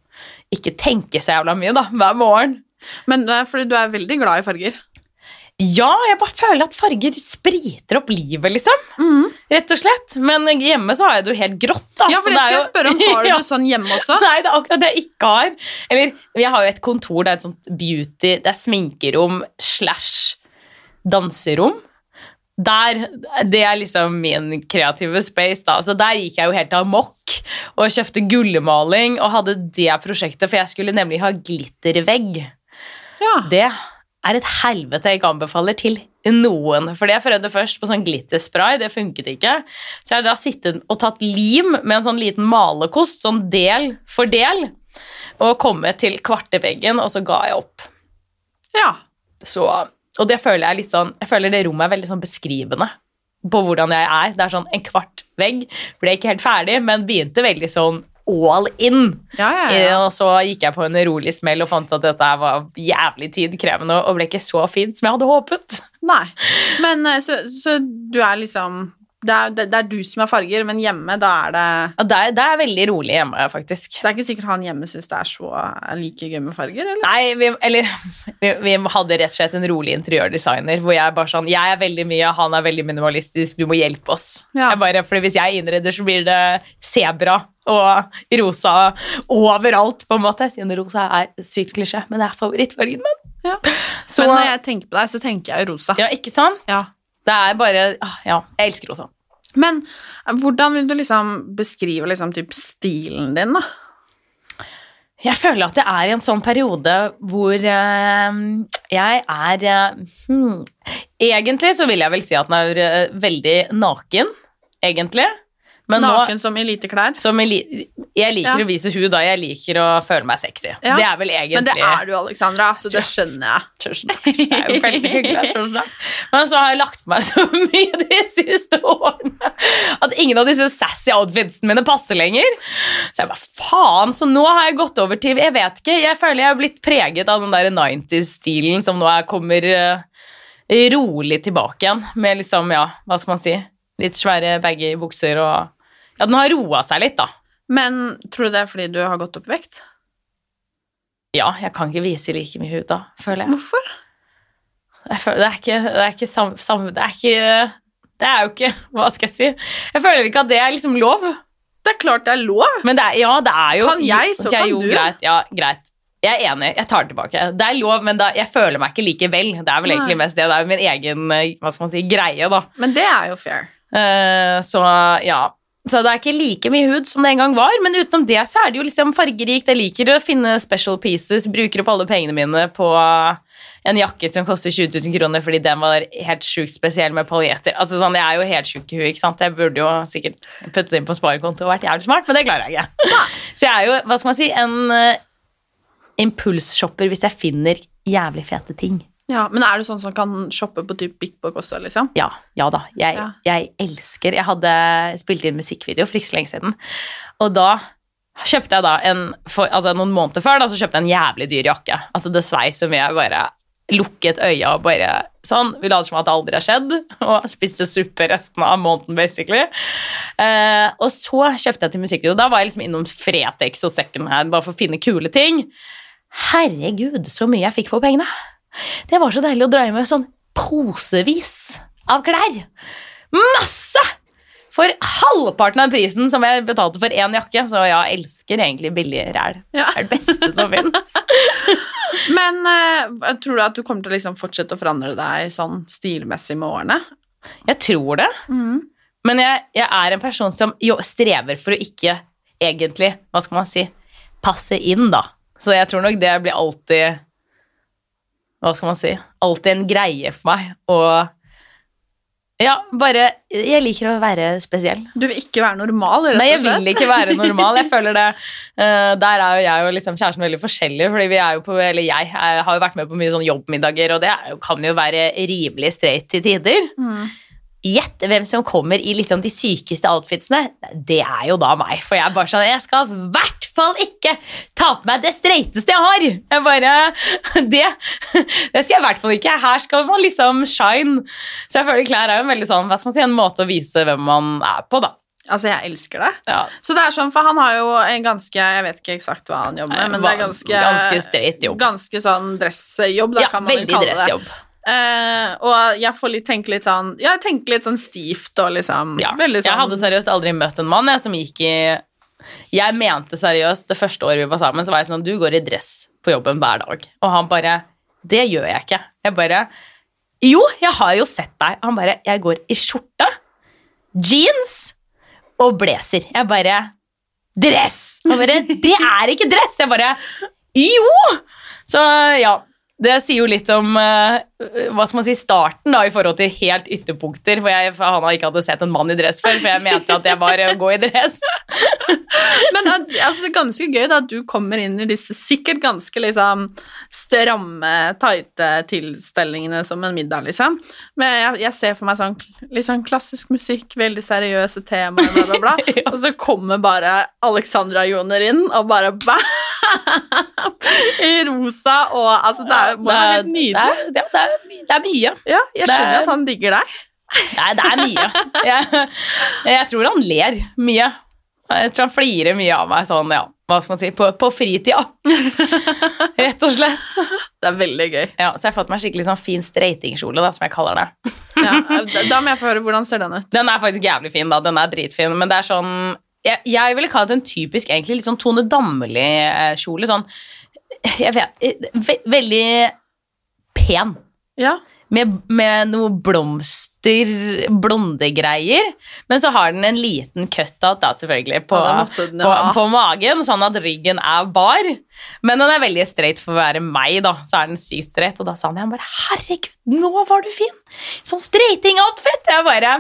Speaker 2: ikke tenke så jævla mye da, hver morgen.
Speaker 1: Men eh, fordi du er veldig glad i farger.
Speaker 2: Ja, jeg bare føler at farger spriter opp livet, liksom. Rett og slett. Men hjemme så har jeg det jo helt grått, da.
Speaker 1: Mm. ja,
Speaker 2: så
Speaker 1: for det
Speaker 2: det er
Speaker 1: skal
Speaker 2: jo-
Speaker 1: jeg spørre om. Har du
Speaker 2: Ja.
Speaker 1: det sånn hjemme også?
Speaker 2: Nei, det er akkurat det jeg ikke har. Eller, jeg har jo et kontor, det er et sånt beauty, det er sminkerom slash danserom. Der, det er liksom min kreative space, da. Så der gikk jeg jo helt amok og kjøpte gullmaling og hadde det prosjektet, for jeg skulle nemlig ha glittervegg.
Speaker 1: Ja.
Speaker 2: Det er et helvete jeg ikke anbefaler til noen. Fordi jeg prøvde først på sånn glitterspray, det funket ikke. Så jeg har da sittet og tatt lim med en sånn liten malerkost, sånn del for del, og kommet til kvarteveggen, og så ga jeg opp.
Speaker 1: ja.
Speaker 2: Så, og det føler jeg litt sånn, jeg føler det rommet er veldig sånn beskrivende på hvordan jeg er. Det er sånn en kvart vegg, ble ikke helt ferdig, men begynte veldig sånn all in.
Speaker 1: Ja, ja, ja.
Speaker 2: Eh, Og så gikk jeg på en rolig smell og fant ut at dette her var jævlig tidkrevende og ble ikke så fint som jeg hadde håpet.
Speaker 1: Nei. Men eh, så, så du er liksom det er, det, det er du som er farger, men hjemme da er det
Speaker 2: Ja, Det er, det er veldig rolig hjemme, faktisk.
Speaker 1: Det er ikke sikkert han hjemme syns det er så like gøy med farger, eller?
Speaker 2: Nei, vi, eller vi, vi hadde rett og slett en rolig interiørdesigner hvor jeg bare sånn Jeg er veldig mye, han er veldig minimalistisk, du må hjelpe oss.
Speaker 1: Ja.
Speaker 2: Jeg bare, fordi hvis jeg innreder, så blir det sebra og rosa overalt, på en måte. Siden rosa er sykt klisjé, men det er favorittfargen min.
Speaker 1: Ja.
Speaker 2: Så
Speaker 1: Men når jeg tenker på deg, så tenker jeg jo rosa.
Speaker 2: Ja, ikke sant?
Speaker 1: Ja.
Speaker 2: Det er bare ah, Ja, jeg elsker rosa.
Speaker 1: Men eh, hvordan vil du liksom beskrive liksom typ stilen din, da?
Speaker 2: Jeg føler at jeg er i en sånn periode hvor eh, jeg er eh, hmm. Egentlig så vil jeg vel si at den er eh, veldig naken, egentlig. Men
Speaker 1: Naken
Speaker 2: nå
Speaker 1: som i lite klær.
Speaker 2: som jeg, li jeg liker
Speaker 1: Ja.
Speaker 2: å vise hud, da. Jeg liker å føle meg sexy.
Speaker 1: Ja.
Speaker 2: Det er vel egentlig
Speaker 1: Men det er du, Alexandra, så det skjønner jeg.
Speaker 2: Tusen takk. Det er jo veldig hyggelig. Tusen takk. Men så har jeg lagt meg så mye de siste årene at ingen av disse sassy outfitsene mine passer lenger. Så jeg bare, faen, så nå har jeg gått over til Jeg vet ikke, jeg føler jeg har blitt preget av den der 90s-stilen som nå er, kommer eh, rolig tilbake igjen med liksom, ja, hva skal man si, litt svære baggy bukser og Ja, den har roa seg litt, da.
Speaker 1: Men tror du det er fordi du har gått opp i vekt?
Speaker 2: Ja, jeg kan ikke vise like mye hud da, føler jeg.
Speaker 1: Hvorfor?
Speaker 2: Jeg føler, det er ikke, det er ikke sam, sam, Det er ikke Det er jo ikke Hva skal jeg si? Jeg føler ikke at det er liksom lov.
Speaker 1: Det er klart det er lov.
Speaker 2: Men det er, ja, det er jo
Speaker 1: Kan jeg, så
Speaker 2: Ok,
Speaker 1: kan
Speaker 2: jo,
Speaker 1: du.
Speaker 2: Greit, ja, greit. Jeg er enig. Jeg tar det tilbake. Det er lov, men da, jeg føler meg ikke likevel. Det er vel egentlig mest det. Det er jo min egen eh, hva skal man si, greie, da.
Speaker 1: Men det er jo fair.
Speaker 2: Eh, så ja. Så det er ikke like mye hud som det en gang var, men utenom det så er det jo liksom fargerikt. Jeg liker å finne special pieces, bruker opp alle pengene mine på en jakke som koster 20 000 kroner fordi den var helt sjukt spesiell med paljetter. Altså sånn, Jeg er jo helt sjuk i huet, ikke sant. Jeg burde jo sikkert putte det inn på sparekonto og vært jævlig smart, men det klarer jeg ikke. Så jeg er jo, hva skal man si, en eh, impulsshopper hvis jeg finner jævlig fete ting.
Speaker 1: Ja, men er du sånn som kan shoppe på typ Bitbook også, liksom?
Speaker 2: Ja, ja da. Jeg,
Speaker 1: Ja.
Speaker 2: jeg elsker Jeg hadde spilt inn musikkvideo for ikke så lenge siden. Og da kjøpte jeg da en for, altså Noen måneder før da, så kjøpte jeg en jævlig dyr jakke. Altså Det svei så mye. Jeg bare lukket øya og bare sånn. Vi later som at det aldri har skjedd. Og spiste suppe resten av måneden, basically. Eh, og så kjøpte jeg til musikkvideo. Da var jeg liksom innom Fretex og Second Hand bare for å finne kule ting. Herregud, så mye jeg fikk for pengene. Det var så deilig å dra hjem med sånn posevis av klær. Masse! For halvparten av prisen som jeg betalte for én jakke. Så ja, jeg elsker egentlig billig ræl.
Speaker 1: Ja.
Speaker 2: Det er det beste som fins.
Speaker 1: Men eh, tror du at du kommer til å liksom fortsette å forandre deg sånn stilmessig med årene?
Speaker 2: Jeg tror det. Men jeg, jeg er en person som jo strever for å ikke egentlig, hva skal man si, passe inn, da. Så jeg tror nok det blir alltid Hva skal man si? Alltid en greie for meg å Ja, bare Jeg liker å være spesiell.
Speaker 1: Du vil ikke være normal, rett og slett?
Speaker 2: Nei, jeg vil ikke være normal. Jeg føler det. eh, der er jo jeg og liksom kjæresten veldig forskjellige, fordi vi er jo på, eller jeg eh, har jo vært med på mye sånn jobbmiddager, og det er jo, kan jo være rimelig streit til tider.
Speaker 1: Mm.
Speaker 2: Gjett hvem som kommer i liksom de sykeste outfitsene. Det er jo da meg. For jeg er bare sånn Jeg skal i hvert fall ikke ta på meg det streiteste jeg har! Jeg bare Det Det skal jeg i hvert fall ikke. Her skal man liksom shine. Så jeg føler klær er jo en veldig sånn Hva skal man si En måte å vise hvem man er på, da.
Speaker 1: Altså, jeg elsker det.
Speaker 2: Ja,
Speaker 1: Så det er sånn, for han har jo en ganske Jeg vet ikke eksakt hva han jobber
Speaker 2: Nei,
Speaker 1: med, men det er
Speaker 2: hva-
Speaker 1: ganske
Speaker 2: ganske straight jobb.
Speaker 1: Ganske sånn dressjobb, da,
Speaker 2: ja
Speaker 1: kan man jo
Speaker 2: veldig
Speaker 1: kalle det.
Speaker 2: dressjobb.
Speaker 1: Eh, og jeg får litt, tenke litt sånn Jeg tenker litt sånn stivt og liksom
Speaker 2: Ja.
Speaker 1: veldig sånn
Speaker 2: Jeg hadde seriøst aldri møtt en mann jeg, som gikk i Jeg mente seriøst det første året vi var sammen, så var jeg sånn Du går i dress på jobben hver dag. Og han bare Det gjør jeg ikke. Jeg bare Jo, jeg har jo sett deg. Han bare Jeg går i skjorte, jeans og blazer. Jeg bare Dress! Han bare Det er ikke dress! Jeg bare Jo! Så ja. Det sier jo litt om eh, hva skal man si, starten da, i forhold til helt ytterpunkter. For jeg for han ikke hadde sett en mann i dress før, for jeg mente jo at jeg var å gå i dress.
Speaker 1: Men eh, altså, det er ganske gøy da at du kommer inn i disse sikkert ganske liksom stramme, tighte tilstelningene som en middag, liksom. Men jeg, jeg ser for meg sånn litt sånn klassisk musikk, veldig seriøse temaer, bla, bla, bla. Og så kommer bare Alexandra Joner inn og bare bam! I rosa og Altså, det er, må
Speaker 2: Det
Speaker 1: være
Speaker 2: er-
Speaker 1: helt nydelig.
Speaker 2: Det er, det er, my- det er mye.
Speaker 1: Ja, jeg
Speaker 2: det er-
Speaker 1: skjønner at han digger deg.
Speaker 2: Det er, det er mye. Jeg, jeg tror han ler mye. Jeg tror han flirer mye av meg sånn, ja, hva skal man si, på, på fritida. Rett og slett.
Speaker 1: Det er veldig gøy.
Speaker 2: Ja, så jeg har fått meg skikkelig sånn fin streitingkjole, da, som jeg kaller det.
Speaker 1: Ja, da- da må jeg få høre hvordan ser den ut.
Speaker 2: Den er faktisk jævlig fin, da. Den er dritfin. Men det er sånn Jeg, jeg ville kalt det en typisk egentlig litt sånn Tone Damli-kjole. Sånn jeg vet, ve Veldig pen.
Speaker 1: Ja.
Speaker 2: med, med noe blomster, blondegreier. Men så har den en liten cutout da, selvfølgelig, på,
Speaker 1: Ja, da måtte den-
Speaker 2: på,
Speaker 1: ja.
Speaker 2: på magen, sånn at ryggen er bar. Men den er veldig straight for å være meg, da. Så er den sykt straight, og da sa han jeg bare Herregud, nå var du fin! Sånn straighting-outfit! Jeg bare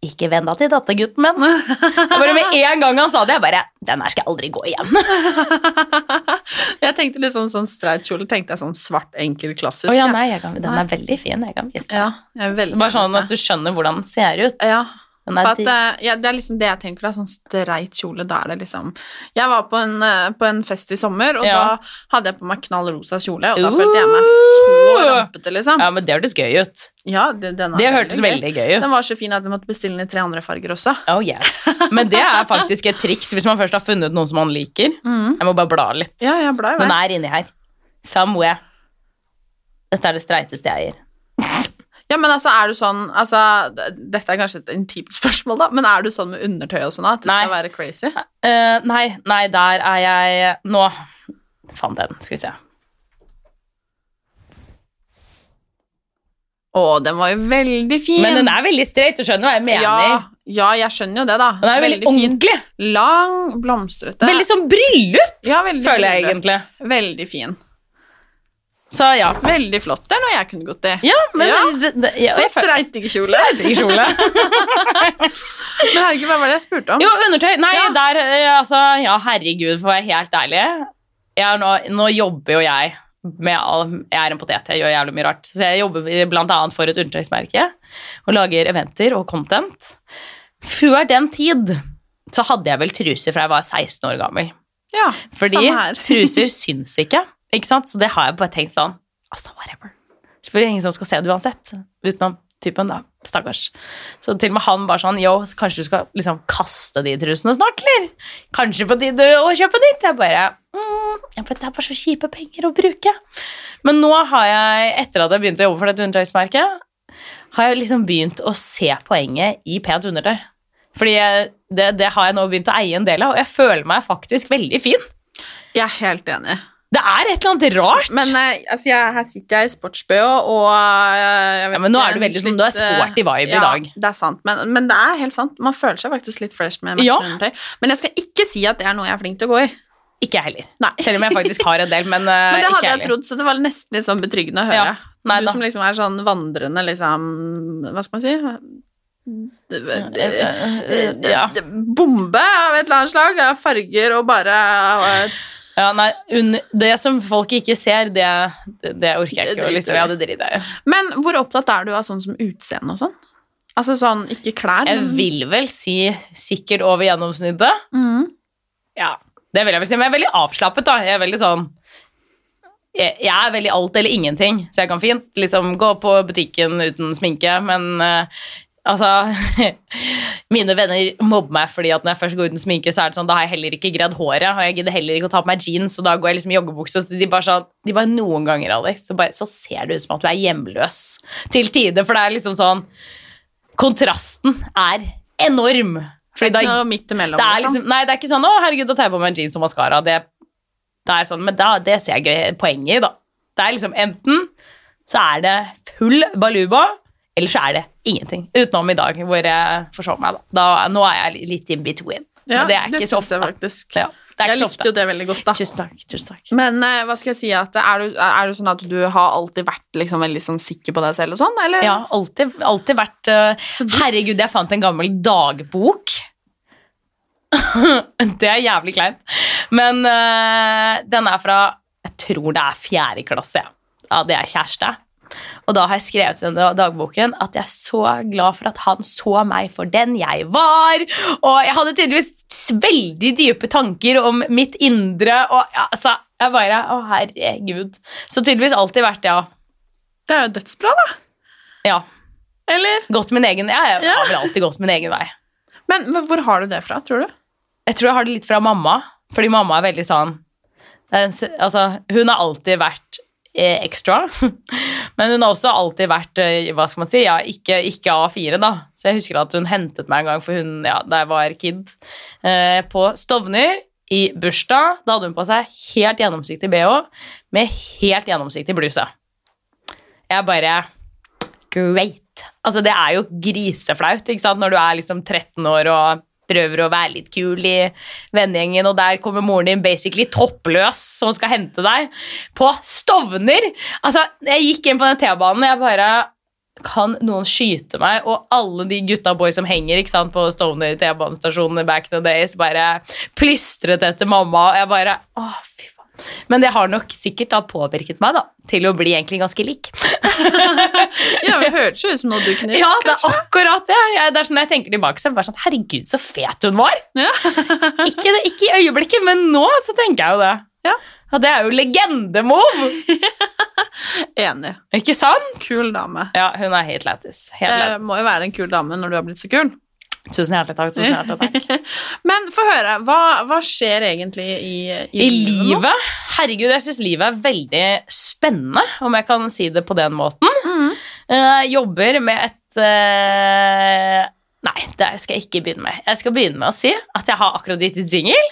Speaker 2: ikke venn deg til dette, gutten min. Jeg bare Med en gang han sa det, jeg bare Den her skal jeg aldri gå igjen.
Speaker 1: Jeg tenkte litt sånn, sånn streit kjole, tenkte jeg sånn svart, enkel, klassisk.
Speaker 2: Å ja,
Speaker 1: jeg.
Speaker 2: nei, jeg kan, den er veldig fin. Jeg kan vise deg.
Speaker 1: Ja, jeg er veldig
Speaker 2: Bare sånn at du skjønner hvordan den ser ut.
Speaker 1: Ja,
Speaker 2: Den
Speaker 1: for
Speaker 2: er
Speaker 1: at,
Speaker 2: digg.
Speaker 1: eh, ja, det er liksom det jeg tenker, da, sånn streit kjole, da er det liksom Jeg var på en, eh, på en fest i sommer, og
Speaker 2: Ja.
Speaker 1: da hadde jeg på meg knall rosa kjole, og da
Speaker 2: Uh.
Speaker 1: følte jeg meg så rampete, liksom.
Speaker 2: Ja, men det hørtes gøy ut.
Speaker 1: Ja, det, den er
Speaker 2: Det hørtes veldig gøy ut.
Speaker 1: Den var så fin at jeg måtte bestille den i tre andre farger også.
Speaker 2: Oh yes. Men det er faktisk et triks hvis man først har funnet noen som man liker. Jeg må bare bla litt.
Speaker 1: Ja, jeg blar i
Speaker 2: Den
Speaker 1: vei.
Speaker 2: er inni her. Somewhere. Dette er det streiteste jeg eier.
Speaker 1: Ja, men altså, er du sånn altså, d- Dette er kanskje et intimt spørsmål, da, men er du sånn med undertøy og sånn at det skal
Speaker 2: Nei.
Speaker 1: være crazy?
Speaker 2: Eh, nei, nei, der er jeg nå. Fant den, skal vi se.
Speaker 1: Å, den var jo veldig fin!
Speaker 2: Men den er veldig streit, du skjønner hva jeg mener.
Speaker 1: Ja, ja, jeg skjønner jo det, da.
Speaker 2: Den er veldig, ordentlig.
Speaker 1: fin. Lang, blomstrete.
Speaker 2: Veldig som bryllup,
Speaker 1: ja, veldig
Speaker 2: føler jeg
Speaker 1: fin.
Speaker 2: egentlig.
Speaker 1: Veldig fin.
Speaker 2: Så ja.
Speaker 1: Veldig flott. Det er noe jeg kunne gått i.
Speaker 2: Ja, men
Speaker 1: Ja.
Speaker 2: Det, det, ja,
Speaker 1: Så
Speaker 2: jeg føler-
Speaker 1: streitingkjole.
Speaker 2: streitingkjole.
Speaker 1: Men herregud, hva var det jeg spurte om?
Speaker 2: Jo, undertøy. Nei,
Speaker 1: Ja.
Speaker 2: der eh, Altså, ja, herregud, for å være helt ærlig. Jeg er nå, nå jobber jo jeg med all Jeg er en potet, jeg gjør jævlig mye rart. Så jeg jobber blant annet for et undertøysmerke og lager eventer og content. Før den tid så hadde jeg vel truser fra jeg var 16 år gammel.
Speaker 1: Ja,
Speaker 2: Fordi
Speaker 1: samme her.
Speaker 2: truser syns ikke, ikke sant? Så det har jeg bare tenkt sånn, altså whatever. Så blir det ingen som skal se det uansett, utenom typen da, stakkars. Så til og med han bare sånn, jo, så kanskje du skal liksom kaste de trusene snart, eller? Kanskje på tide å kjøpe nytt? Jeg bare, mm, ja, men det er bare så kjipe penger å bruke. Men nå har jeg, etter at jeg begynte å jobbe for dette undertøysmerket, har jeg liksom begynt å se poenget i pent undertøy. Fordi jeg, det, det har jeg nå begynt å eie en del av, og jeg føler meg faktisk veldig fin.
Speaker 1: Jeg er helt enig.
Speaker 2: Det er et eller annet rart.
Speaker 1: Men eh, altså, jeg, her sitter jeg i sports-BH, og eh, jeg vet
Speaker 2: Ja, men nå
Speaker 1: ikke,
Speaker 2: er det
Speaker 1: en
Speaker 2: veldig sånn,
Speaker 1: slitt,
Speaker 2: du er sporty vibe i
Speaker 1: eh,
Speaker 2: dag.
Speaker 1: Ja, det er sant, men, men det er helt sant. Man føler seg faktisk litt fresh med matchende
Speaker 2: Ja.
Speaker 1: undertøy. Men jeg skal ikke si at det er noe jeg er flink til å gå i.
Speaker 2: ikke jeg heller.
Speaker 1: Nei.
Speaker 2: Selv om jeg faktisk har en del, men, eh,
Speaker 1: Men det
Speaker 2: ikke
Speaker 1: hadde jeg
Speaker 2: heller.
Speaker 1: trodd, så det var nesten litt sånn betryggende å høre.
Speaker 2: Ja, nei
Speaker 1: du
Speaker 2: da.
Speaker 1: som liksom er sånn vandrende, liksom Hva skal man si?
Speaker 2: Eh, ja.
Speaker 1: Bombe av et eller annet slag. av Farger og bare
Speaker 2: Ja, nei, un, det som folk ikke ser, det, det, det orker
Speaker 1: Det
Speaker 2: jeg ikke. å
Speaker 1: driter
Speaker 2: Liksom,
Speaker 1: jeg
Speaker 2: ja,
Speaker 1: i.
Speaker 2: det driter jeg i.
Speaker 1: Men hvor opptatt er du av sånn som utseende og sånn? Altså sånn ikke klær,
Speaker 2: Jeg
Speaker 1: men
Speaker 2: vil vel si sikkert over gjennomsnittet.
Speaker 1: Mm.
Speaker 2: Ja, det vil jeg vel si. Men jeg er veldig avslappet, da. Jeg er veldig sånn jeg, jeg er veldig alt eller ingenting, så jeg kan fint liksom gå på butikken uten sminke, men eh, altså Mine venner mobber meg fordi at når jeg først går uten sminke, så er det sånn, da har jeg heller ikke gredd håret, og jeg gidder heller ikke å ta på meg jeans, og da går jeg liksom i joggebukse, og så de bare sånn De bare noen ganger, Alex, så, bare, så ser det ut som at du er hjemløs til tider, for det er liksom sånn Kontrasten er enorm. Fordi
Speaker 1: ikke
Speaker 2: da
Speaker 1: noe midt imellom.
Speaker 2: det er liksom, nei, det er ikke sånn 'Å, herregud, da tar jeg på meg en jeans og maskara'. Det, det er sånn, men da, det ser jeg gøy poenget i, da. Det er liksom enten så er det full baluba, eller så er det ingenting. Utenom i dag, hvor jeg forsov meg, da. da. Nå er jeg litt in between.
Speaker 1: Ja,
Speaker 2: men det er ikke så
Speaker 1: syns jeg
Speaker 2: ofte.
Speaker 1: faktisk.
Speaker 2: Ja, det er
Speaker 1: jeg
Speaker 2: ikke så
Speaker 1: likte jo
Speaker 2: ofte.
Speaker 1: det veldig godt, da.
Speaker 2: Tusen takk. tusen takk.
Speaker 1: Men eh, hva skal jeg si at, er, du, er du sånn at du har alltid vært liksom veldig sånn sikker på deg selv og sånn, eller?
Speaker 2: Ja, alltid, alltid vært eh, Herregud, jeg fant en gammel dagbok. det er jævlig kleint. Men eh, den er fra Jeg tror det er fjerde klasse. ja. Ja, det er kjæreste. Og da har jeg skrevet i denne dagboken at jeg er så glad for at han så meg for den jeg var. Og jeg hadde tydeligvis veldig dype tanker om mitt indre, og ja, altså Jeg bare Å, herregud. Så tydeligvis alltid vært det, ja.
Speaker 1: Det er jo dødsbra, da.
Speaker 2: ja.
Speaker 1: Eller?
Speaker 2: Gått min egen, jeg
Speaker 1: Ja.
Speaker 2: har vel alltid gått min egen vei.
Speaker 1: Men, men hvor har du det fra, tror du?
Speaker 2: Jeg tror jeg har det litt fra mamma, fordi mamma er veldig sånn det er en se- altså, Hun har alltid vært eh, ekstra, men hun har også alltid vært eh, hva skal man si, ja, ikke, ikke A4, da. Så jeg husker at hun hentet meg en gang for hun, ja, da jeg var kid, eh, på Stovner. I bursdag da hadde hun på seg helt gjennomsiktig bh med helt gjennomsiktig bluse. Jeg bare great. Altså, det er jo griseflaut, ikke sant, når du er liksom 13 år og prøver å være litt kul i vennegjengen, og der kommer moren din basically toppløs som skal hente deg på Stovner! Altså, jeg gikk inn på den T-banen, jeg bare kan noen skyte meg? Og alle de gutta boys som henger ikke sant, på Stovner T-banestasjonen back in the days, bare plystret etter mamma. Og jeg bare Å, fy faen. Men det har nok sikkert da påvirket meg da, til å bli egentlig ganske lik.
Speaker 1: Ja, men Det hørtes jo ut som noe du kunne
Speaker 2: Ja, det er akkurat det. Jeg, det er sånn når jeg tenker tilbake, så er jeg bare sånn Herregud, så fet hun var! ikke, det, ikke i øyeblikket, men nå så tenker jeg jo det.
Speaker 1: Ja.
Speaker 2: Og det er jo legendemove!
Speaker 1: Enig.
Speaker 2: Ikke sant?
Speaker 1: Kul dame.
Speaker 2: Ja, hun er helt lættis. Helt
Speaker 1: Eh,
Speaker 2: lættis.
Speaker 1: må jo være en kul dame når du har blitt så kul.
Speaker 2: Tusen hjertelig takk. Tusen hjertelig takk.
Speaker 1: Men få høre, hva, hva skjer egentlig i,
Speaker 2: I
Speaker 1: nå?
Speaker 2: livet? Herregud, jeg syns livet er veldig spennende, om jeg kan si det på den måten. Eh, jobber med et eh, Nei, det skal jeg ikke begynne med. Jeg skal begynne med å si at jeg har akkurat gitt ut singel.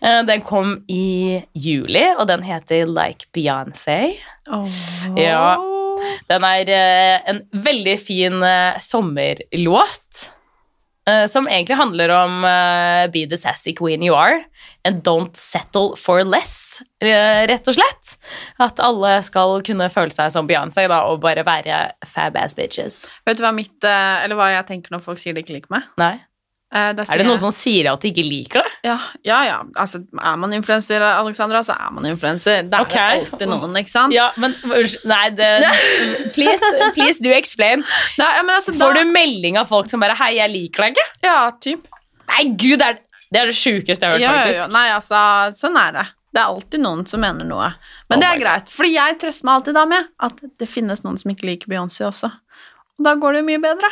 Speaker 2: Eh, den kom i juli, og den heter Like Beyoncé.
Speaker 1: Åh.
Speaker 2: Ja. Den er eh, en veldig fin eh, sommerlåt. eh, som egentlig handler om eh, Be the sassy queen you are and don't settle for less, eh, rett og slett. At alle skal kunne føle seg som Beyoncé da, og bare være fab ass bitches.
Speaker 1: Vet du hva, mitt, eh, eller hva jeg tenker når folk sier de ikke liker meg?
Speaker 2: Nei.
Speaker 1: Eh, da sier
Speaker 2: Er det noen
Speaker 1: jeg-
Speaker 2: som sier at de ikke liker det?
Speaker 1: ja, ja, ja. Altså, er man influenser, Alexandra, så er man influenser. Det er
Speaker 2: Ok.
Speaker 1: jo alltid noen, ikke sant?
Speaker 2: Ja, men unnskyld Nei, det, please, please do explain.
Speaker 1: Nei, ja, men altså, da,
Speaker 2: Får du melding av folk som bare 'Hei, jeg liker deg ikke'?
Speaker 1: Ja, typ.
Speaker 2: Nei, gud, det er det, er det sjukeste jeg har hørt,
Speaker 1: Ja, ja,
Speaker 2: faktisk.
Speaker 1: ja. Nei, altså, sånn er det. Det er alltid noen som mener noe. Men
Speaker 2: Oh
Speaker 1: det
Speaker 2: my
Speaker 1: er greit, fordi jeg trøster meg alltid da med at det finnes noen som ikke liker Beyoncé også. Og da går det jo mye bedre.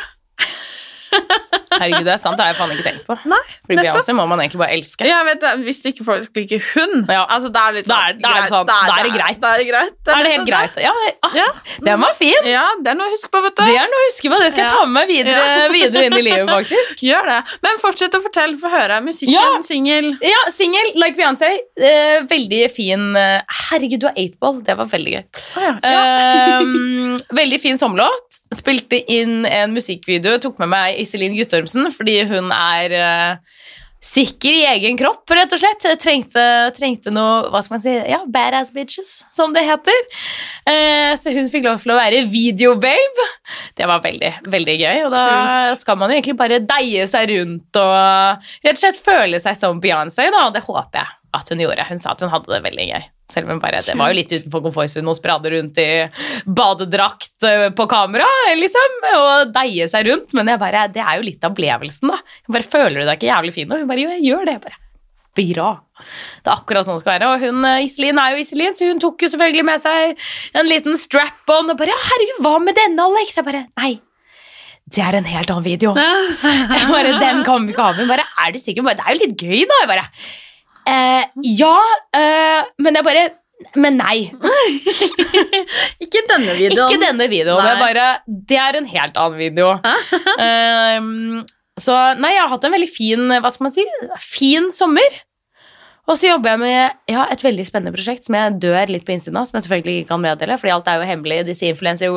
Speaker 2: Herregud, det er sant. Det har jeg faen ikke tenkt på.
Speaker 1: Nei,
Speaker 2: Fordi
Speaker 1: nettopp.
Speaker 2: Beyoncé må man egentlig bare elske.
Speaker 1: Jeg vet, det, Hvis ikke folk liker hun,
Speaker 2: Ja.
Speaker 1: altså, det er litt
Speaker 2: Da er-
Speaker 1: sånn
Speaker 2: da er det sånn, da er det greit.
Speaker 1: Da er det greit.
Speaker 2: Da er det helt
Speaker 1: nettopp
Speaker 2: greit. Ja, det, ah,
Speaker 1: Ja.
Speaker 2: Den var fin!
Speaker 1: Ja, det er noe å huske på, vet du.
Speaker 2: Det er noe å huske på. Det skal
Speaker 1: Ja.
Speaker 2: jeg ta med meg videre,
Speaker 1: Ja.
Speaker 2: videre inn i livet, faktisk.
Speaker 1: Gjør det. Men fortsett å fortelle, få høre. Musikken,
Speaker 2: Ja.
Speaker 1: singel.
Speaker 2: Ja, singel, like Beyoncé. Eh, veldig fin eh, Herregud, du har 8-ball. Det var veldig gøy. Ehm, veldig fin sommerlåt. Spilte inn en musikkvideo. Tok med meg Iselin Guttormsen fordi hun er eh, sikker i egen kropp, rett og slett. Trengte, trengte noe hva skal man si, ja, badass bitches, som det heter. Eh, så hun fikk lov til å være videobabe. Det var veldig, veldig gøy. Og da
Speaker 1: Kult.
Speaker 2: skal man jo egentlig bare deie seg rundt og rett og slett føle seg som Beyoncé, da. Og det håper jeg at hun gjorde. Hun sa at hun hadde det veldig gøy. Selv om hun bare, det var jo litt utenfor komfortsonen å sprade rundt i badedrakt eh, på kamera, liksom, og deie seg rundt. Men jeg bare, det er jo litt av opplevelsen, da. Hun bare føler du deg ikke jævlig fin, og hun bare jo, jeg gjør det. Jeg bare, Bra. Det er akkurat sånn det skal være. Og hun, eh, Iselin er jo Iselin, så hun tok jo selvfølgelig med seg en liten strap-on og bare Ja, herregud, hva med denne, Alex? Jeg bare Nei. Det er en helt annen video. Jeg bare, Den kan vi ikke ha med. Hun Bare, er du sikker? Hun Bare, det er jo litt gøy, da. Jeg bare eh, Ja, eh, men jeg bare Men nei.
Speaker 1: Ikke denne videoen.
Speaker 2: Ikke denne videoen.
Speaker 1: Nei.
Speaker 2: Det er, bare, det er en helt annen video. Ehm, så nei, jeg har hatt en veldig fin hva skal man si, fin sommer. Og så jobber jeg med ja, et veldig spennende prosjekt som jeg dør litt på innsiden av. som jeg selvfølgelig ikke kan meddele, fordi alt er jo hemmelig. Disse influenser,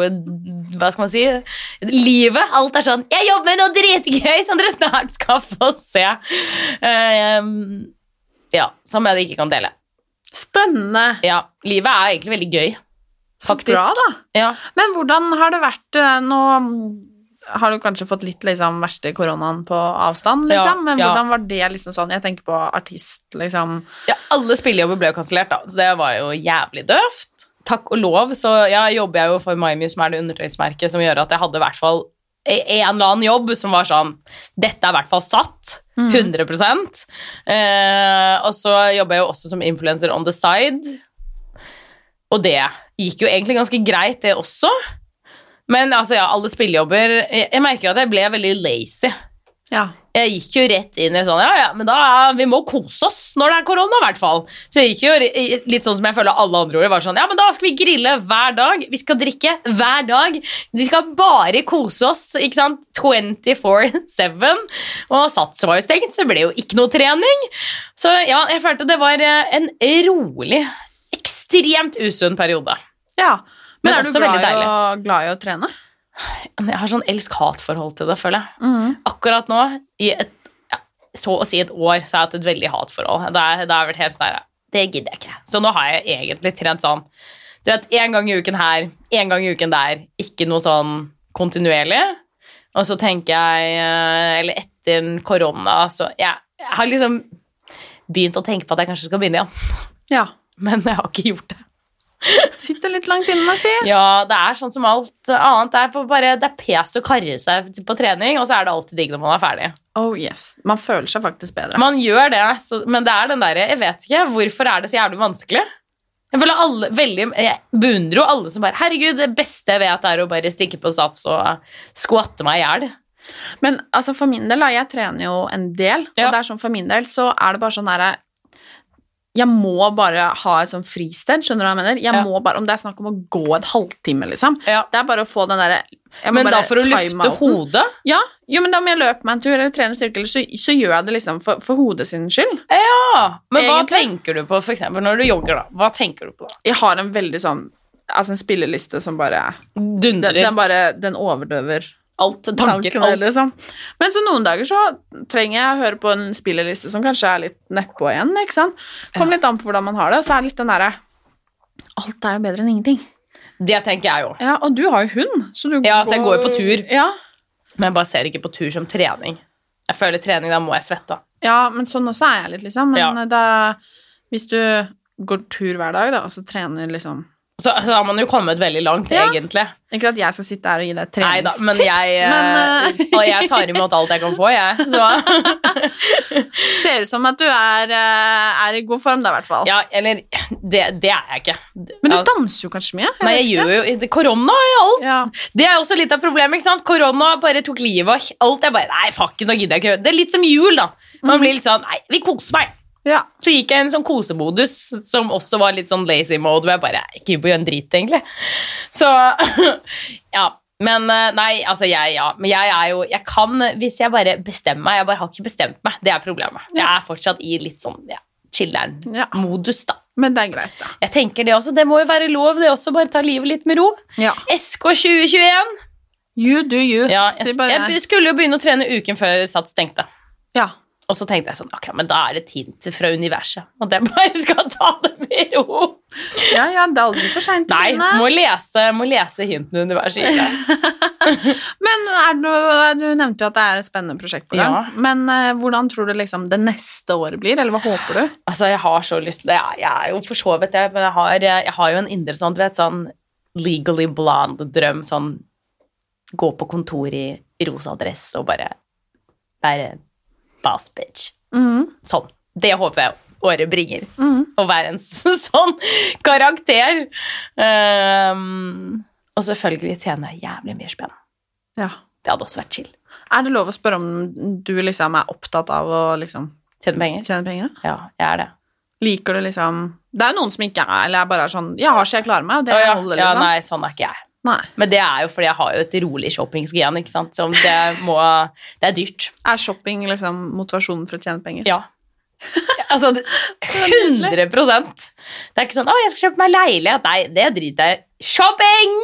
Speaker 2: hva skal man si, livet. Alt er sånn 'Jeg jobber med noe dritgøy som dere snart skal få se'. Ehm, ja, Som jeg ikke kan dele.
Speaker 1: Spennende.
Speaker 2: Ja, Livet er egentlig veldig gøy.
Speaker 1: Så
Speaker 2: Faktisk.
Speaker 1: bra, da.
Speaker 2: Ja.
Speaker 1: Men hvordan har det vært eh, nå? Har du kanskje fått litt liksom, verste koronaen på avstand,
Speaker 2: Ja,
Speaker 1: liksom? Men
Speaker 2: ja.
Speaker 1: hvordan var det liksom sånn? Jeg tenker på artist, liksom.
Speaker 2: Ja, alle spillejobber ble jo kansellert, da, så det var jo jævlig døvt. Takk og lov, så ja, jobber jeg jo for MyMu, som er det undertøysmerket som gjør at jeg hadde i hvert fall e- en eller annen jobb som var sånn Dette er i hvert fall satt. 100 eh, Og så jobber jeg jo også som influenser on the side. Og det gikk jo egentlig ganske greit, det også. Men altså, ja, alle spillejobber Jeg, jeg merker at jeg ble veldig lazy
Speaker 1: Ja.
Speaker 2: jeg gikk jo rett inn i sånn Ja, ja, men da Vi må kose oss når det er korona, i hvert fall. Så jeg gikk jo re- litt sånn som jeg føler alle andre gjorde. Var sånn Ja, men da skal vi grille hver dag. Vi skal drikke hver dag. Vi skal bare kose oss, ikke sant? 24-7. Og Sats var jo stengt, så det ble jo ikke noe trening. Så ja, jeg følte det var eh, en rolig, ekstremt usunn periode.
Speaker 1: ja. Men,
Speaker 2: Men
Speaker 1: er du
Speaker 2: også
Speaker 1: glad
Speaker 2: veldig
Speaker 1: i, å, glad i å trene?
Speaker 2: Jeg har sånn elsk-hat-forhold til det, føler jeg. Akkurat nå, i et, ja, så å si et år, så har jeg hatt et veldig hatforhold. Det er- det har vært helt sånn der, Det gidder jeg ikke. Så nå har jeg egentlig trent sånn Du vet, én gang i uken her, én gang i uken der. Ikke noe sånn kontinuerlig. Og så tenker jeg eh, Eller etter korona, så jeg, jeg har liksom begynt å tenke på at jeg kanskje skal begynne igjen.
Speaker 1: Ja.
Speaker 2: Men jeg har ikke gjort det.
Speaker 1: Sitter litt langt inne, si.
Speaker 2: Ja, det er sånn som alt annet. Det er, på bare, det er pes å karre seg på trening, og så er det alltid digg når man er ferdig.
Speaker 1: Oh yes. Man føler seg faktisk bedre.
Speaker 2: Man gjør det, så, men det er den derre Jeg vet ikke, hvorfor er det så jævlig vanskelig? Jeg føler alle, veldig, jeg beundrer jo alle som bare Herregud, det beste jeg vet, er å bare stikke på sats og skvatte meg i hjel.
Speaker 1: Men altså, for min del, da, jeg trener jo en del,
Speaker 2: Ja.
Speaker 1: og det er sånn for min del, så er det bare sånn derre jeg må bare ha et sånn fristed, skjønner du hva jeg mener? Jeg
Speaker 2: Ja.
Speaker 1: må bare, Om det er snakk om å gå et halvtime, liksom.
Speaker 2: Ja.
Speaker 1: Det er bare å få den derre jeg må
Speaker 2: Men da
Speaker 1: bare
Speaker 2: for å
Speaker 1: time
Speaker 2: løfte
Speaker 1: outen.
Speaker 2: hodet
Speaker 1: Ja, jo, men da om jeg løper meg en tur eller trener styrke, eller så, så gjør jeg det liksom for, for hodet sin skyld.
Speaker 2: Ja, men hva
Speaker 1: Egentlig.
Speaker 2: tenker du på, for eksempel, når du jogger, da? Hva tenker du på da?
Speaker 1: Jeg har en veldig sånn Altså en spilleliste som bare den,
Speaker 2: Dundrer.
Speaker 1: den bare Den overdøver
Speaker 2: alt tanker.
Speaker 1: tankene,
Speaker 2: Alt.
Speaker 1: liksom. Men så noen dager så trenger jeg å høre på en spilleliste som kanskje er litt nedpå igjen. ikke sant? Kommer litt an på hvordan man har det. Og så er det litt den derre Alt er jo bedre enn ingenting.
Speaker 2: Det tenker jeg òg.
Speaker 1: Ja, Og du har jo hund, så du
Speaker 2: Ja, så jeg går jo på tur.
Speaker 1: Ja,
Speaker 2: Men jeg bare ser ikke på tur som trening. Jeg føler trening, da må jeg svette.
Speaker 1: ja men sånn også er jeg litt, liksom. Men
Speaker 2: Ja.
Speaker 1: da, hvis du går tur hver dag, da, og så trener liksom
Speaker 2: Så, så har man jo kommet veldig langt,
Speaker 1: Ja.
Speaker 2: egentlig.
Speaker 1: Ikke at jeg skal sitte her og gi deg
Speaker 2: Nei da,
Speaker 1: treningstips,
Speaker 2: men jeg, eh,
Speaker 1: men, eh,
Speaker 2: og jeg tar imot alt jeg kan få, jeg. Så
Speaker 1: ser ut som at du er, eh, er i god form, da, i hvert fall.
Speaker 2: ja, eller Det, det er jeg ikke.
Speaker 1: Men du
Speaker 2: Altså,
Speaker 1: danser jo kanskje mye?
Speaker 2: Nei, jeg gjør jo det- Korona er jo alt.
Speaker 1: Ja.
Speaker 2: Det er også litt av problemet. ikke sant? Korona bare tok livet av alt. Jeg bare, nei, fuck it, nå gidder jeg ikke. Det er litt som jul, da.
Speaker 1: Mm.
Speaker 2: Man blir litt sånn Nei, vi koser meg.
Speaker 1: ja.
Speaker 2: Så gikk jeg i en sånn kosemodus som også var litt sånn lazy mode, hvor jeg bare ikke gidder å gjøre en drit, egentlig. Så ja. Men eh, nei, altså jeg, ja. Men jeg er jo Jeg kan, hvis jeg bare bestemmer meg Jeg bare har ikke bestemt meg. Det er problemet. Jeg er fortsatt i litt sånn ja,
Speaker 1: Ja.
Speaker 2: chiller'n-modus, da.
Speaker 1: Men det er greit, da.
Speaker 2: Jeg tenker det også. Det må jo være lov, det også. Bare ta livet litt med ro.
Speaker 1: Ja.
Speaker 2: SK 2021.
Speaker 1: You do you.
Speaker 2: Ja,
Speaker 1: Si
Speaker 2: jeg,
Speaker 1: bare-
Speaker 2: jeg skulle jo begynne å trene uken før Sats stengte.
Speaker 1: ja.
Speaker 2: Og så tenkte jeg sånn, ok, men da er det tid til fra universet. At jeg bare skal ta det med ro.
Speaker 1: ja, ja, det er aldri for seint.
Speaker 2: Nei, må lese, må lese hintene universet gir deg.
Speaker 1: Men er det noe, du nevnte jo at det er et spennende prosjekt på gang.
Speaker 2: Ja.
Speaker 1: Men eh, hvordan tror du liksom det neste året blir, eller hva håper du?
Speaker 2: Altså, jeg har så lyst til det. Jeg- Jeg er jo for så vidt det, men jeg har, jeg har jo en indre sånn, du vet, sånn legally blonde-drøm. Sånn gå på kontor i rosa dress og bare være boss bitch. Sånn. Det håper jeg året bringer. Å være en s- sånn karakter. Ehm, og selvfølgelig tjene jævlig mye spenn.
Speaker 1: Ja.
Speaker 2: Det hadde også vært chill.
Speaker 1: Er det lov å spørre om du liksom er opptatt av å liksom
Speaker 2: Tjene penger.
Speaker 1: tjene penger? da?
Speaker 2: Ja, jeg er det.
Speaker 1: Liker du liksom Det er jo noen som ikke er eller er bare er sånn Jeg har så jeg klarer meg, og det
Speaker 2: Å ja,
Speaker 1: holder,
Speaker 2: ja,
Speaker 1: liksom.
Speaker 2: nei, sånn er ikke jeg.
Speaker 1: nei.
Speaker 2: Men det er jo fordi jeg har jo et rolig shoppingsgen, ikke sant? Som det, må, det er dyrt.
Speaker 1: Er shopping liksom motivasjonen for å tjene penger?
Speaker 2: Ja. Altså, det- 100 Det er ikke sånn 'Å, jeg skal kjøpe meg leilighet.' Nei, det driter jeg i. Shopping!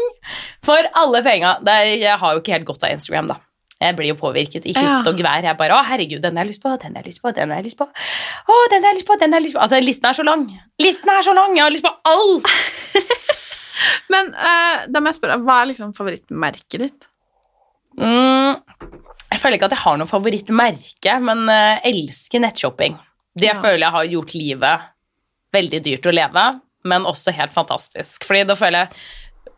Speaker 2: For alle penga. Det er- Jeg har jo ikke helt godt av Instagram, da. Jeg blir jo påvirket i
Speaker 1: Ja.
Speaker 2: hytt og gevær. Jeg bare 'Å, herregud, den har jeg lyst på, den har jeg lyst på, den har jeg lyst på'. Å, den har jeg lyst på, den har jeg lyst på. Altså, listen er så lang. Listen er så lang! Jeg har lyst på alt!
Speaker 1: Men eh, da må jeg spørre, hva er liksom favorittmerket ditt?
Speaker 2: Mm, jeg føler ikke at jeg har noe favorittmerke, men eh, elsker nettshopping. Det
Speaker 1: Ja.
Speaker 2: føler jeg har gjort livet veldig dyrt å leve, men også helt fantastisk. Fordi da føler jeg,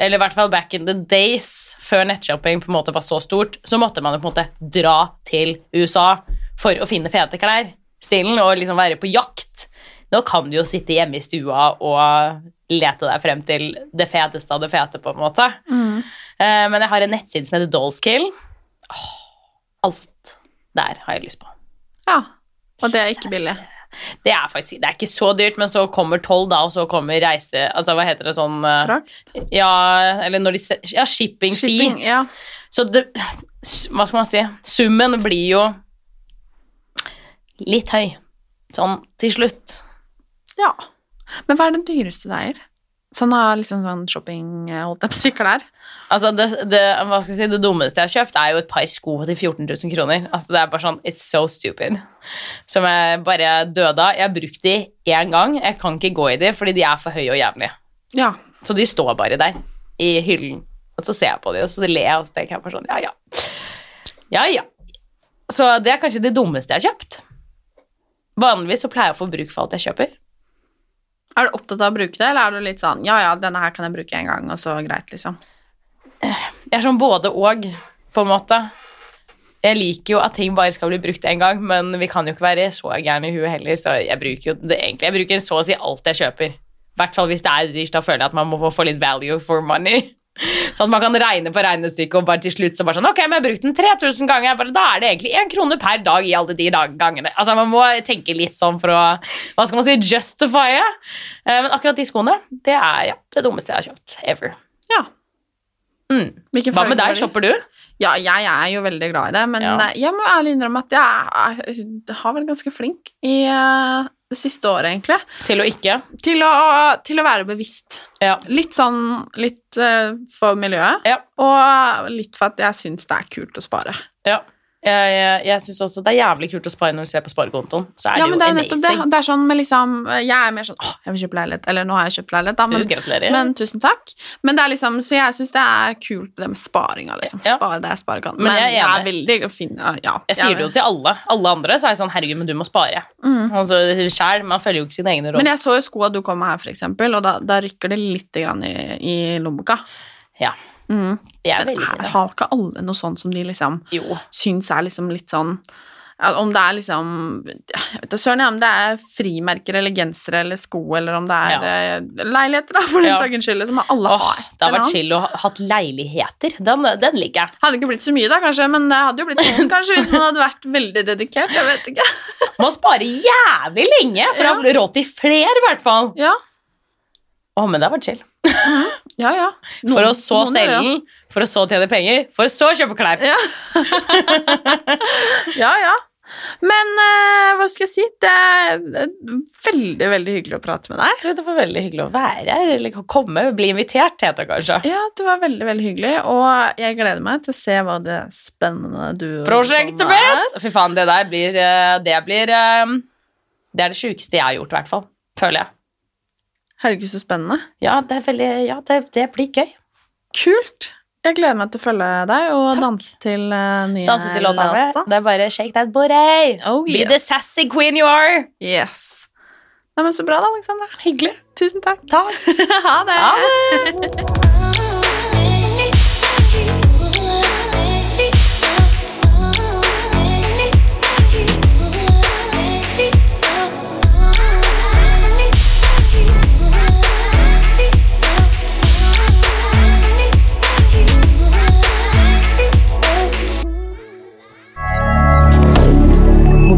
Speaker 2: eller i hvert fall back in the days, før nettshopping på en måte var så stort, så måtte man jo på en måte dra til USA for å finne fete klær, stilen, og liksom være på jakt. Nå kan du jo sitte hjemme i stua og lete deg frem til det feteste av det fete, på en måte. Eh, Men jeg har en nettside som heter Dollskill. Åh, Alt der har jeg lyst på.
Speaker 1: Ja. Og det er ikke billig.
Speaker 2: Det er faktisk det er ikke så dyrt, men så kommer toll, da, og så kommer reise... Altså, hva heter det sånn eh,
Speaker 1: Frakt?
Speaker 2: Ja, eller når de se- Ja, shipping fee.
Speaker 1: Shipping, ja.
Speaker 2: Så det s- Hva skal man si? Summen blir jo litt høy. Sånn til slutt.
Speaker 1: ja. Men hva er det dyreste du eier? Sånn har liksom sånn shopping eh, holdt jeg på å si klær.
Speaker 2: Altså, det, det, hva skal jeg si, det dummeste jeg har kjøpt, er jo et par sko til 14 000 kroner. Altså, det er bare sånn It's so stupid. Som jeg bare døde av. Jeg har brukt de én gang. Jeg kan ikke gå i de fordi de er for høye og jævlige.
Speaker 1: Ja.
Speaker 2: Så de står bare der i hyllen. Og så ser jeg på de, og så ler jeg, og så tenker jeg bare sånn Ja, ja. Ja, ja. Så det er kanskje det dummeste jeg har kjøpt. Vanligvis så pleier jeg å få bruk for alt jeg kjøper.
Speaker 1: Er du opptatt av å bruke det, eller er du litt sånn ja, ja, denne her kan jeg bruke en gang, og så greit, liksom?
Speaker 2: Jeg er sånn både og, på en måte. Jeg liker jo at ting bare skal bli brukt én gang, men vi kan jo ikke være så gærne i huet heller, så jeg bruker jo det egentlig. Jeg bruker så å si alt jeg kjøper. I hvert fall hvis det er dyrt, da føler jeg at man må få litt value for money. Sånn at man kan regne på regnestykket, og bare til slutt så bare sånn Ok, men jeg har brukt den 3000 ganger. Jeg bare, da er det egentlig én krone per dag i alle de dag gangene. Altså, man må tenke litt sånn for å Hva skal man si? Justifye. Eh, Men akkurat de skoene, det er ja, det dummeste jeg har kjøpt ever.
Speaker 1: Ja.
Speaker 2: Mm.
Speaker 1: Hvilken
Speaker 2: Hva
Speaker 1: farge
Speaker 2: med
Speaker 1: var
Speaker 2: deg?
Speaker 1: det?
Speaker 2: Shopper du?
Speaker 1: Ja, jeg er jo veldig glad i det, men
Speaker 2: Ja.
Speaker 1: eh, jeg må ærlig innrømme at jeg er, har vært ganske flink i eh, det siste året, egentlig,
Speaker 2: Til å ikke?
Speaker 1: til å, til å være bevisst.
Speaker 2: Ja.
Speaker 1: Litt sånn litt eh, for miljøet,
Speaker 2: Ja.
Speaker 1: og litt for at jeg syns det er kult å spare.
Speaker 2: Ja. Jeg, jeg, jeg syns også det er jævlig kult å spare når du ser på sparekontoen. Så er
Speaker 1: ja, men
Speaker 2: det jo
Speaker 1: det er jo nettopp det.
Speaker 2: amazing.
Speaker 1: Det er sånn med liksom Jeg er mer sånn åh, jeg vil kjøpe leilighet, eller nå har jeg kjøpt leilighet, da, men,
Speaker 2: Du, gratulerer.
Speaker 1: men tusen takk. Men det er liksom Så jeg syns det er kult det med sparinga, liksom.
Speaker 2: Ja.
Speaker 1: Spare det jeg sparer kan.
Speaker 2: Men
Speaker 1: Men,
Speaker 2: jeg er
Speaker 1: jeg er
Speaker 2: enig.
Speaker 1: veldig fin ja, ja. Mm.
Speaker 2: Jeg sier det jo til alle. Alle andre så er jeg sånn Herregud, men du må spare. Altså, selv, Man følger jo ikke sine egne råd.
Speaker 1: Men jeg så jo skoa du kom med her, for eksempel, og da, da rykker det litt grann i, i lommeboka.
Speaker 2: Ja.
Speaker 1: Mm.
Speaker 2: Jeg er
Speaker 1: Men
Speaker 2: veldig
Speaker 1: her
Speaker 2: enig.
Speaker 1: har ikke alle noe sånt som de liksom
Speaker 2: Jo.
Speaker 1: syns er liksom litt sånn ja, Om det er liksom Jeg vet da søren, ja, om det er frimerker eller gensere eller sko, eller om det er eh, leiligheter, da, for den
Speaker 2: Ja.
Speaker 1: saks skyld, som alle
Speaker 2: Åh,
Speaker 1: har.
Speaker 2: det har
Speaker 1: en
Speaker 2: vært
Speaker 1: annen.
Speaker 2: chill å ha hatt leiligheter. Den, den liker jeg.
Speaker 1: Hadde ikke blitt så mye, da, kanskje, men det hadde jo blitt noen, kanskje, hvis man hadde vært veldig dedikert. Jeg vet ikke.
Speaker 2: Må spare jævlig lenge for å ha råd til flere, i hvert fall.
Speaker 1: Ja,
Speaker 2: Åh, men det har vært chill.
Speaker 1: ja, ja.
Speaker 2: For å
Speaker 1: Noen- noen
Speaker 2: så
Speaker 1: gjør
Speaker 2: selge
Speaker 1: det,
Speaker 2: den, for å så tjene penger, for å så kjøpe klær.
Speaker 1: Ja. Ja, ja. Men eh, hva skal jeg si? Det er eh, veldig, veldig hyggelig å prate med deg.
Speaker 2: Du, Det var veldig hyggelig å være her, eller komme, bli invitert, heter det kanskje.
Speaker 1: Ja, det var veldig, veldig hyggelig, og jeg gleder meg til å se hva det spennende du
Speaker 2: Prosjektet
Speaker 1: kommer med.
Speaker 2: mitt! Fy faen, det der blir eh, Det blir eh, Det er det sjukeste jeg har gjort, i hvert fall. Føler jeg.
Speaker 1: Herregud, så spennende.
Speaker 2: Ja, det, er veldig, ja, det, det blir gøy.
Speaker 1: Kult! Jeg gleder meg til å følge deg og danse til eh, nye
Speaker 2: Danse til låta med.
Speaker 1: låta.
Speaker 2: Det er bare shake that booty.
Speaker 1: Oh,
Speaker 2: Be
Speaker 1: yes.
Speaker 2: the sassy queen you are.
Speaker 1: Yes. Nei, men så bra da, Alexandra.
Speaker 2: Hyggelig.
Speaker 1: Tusen takk. Ha det!
Speaker 2: Ha det.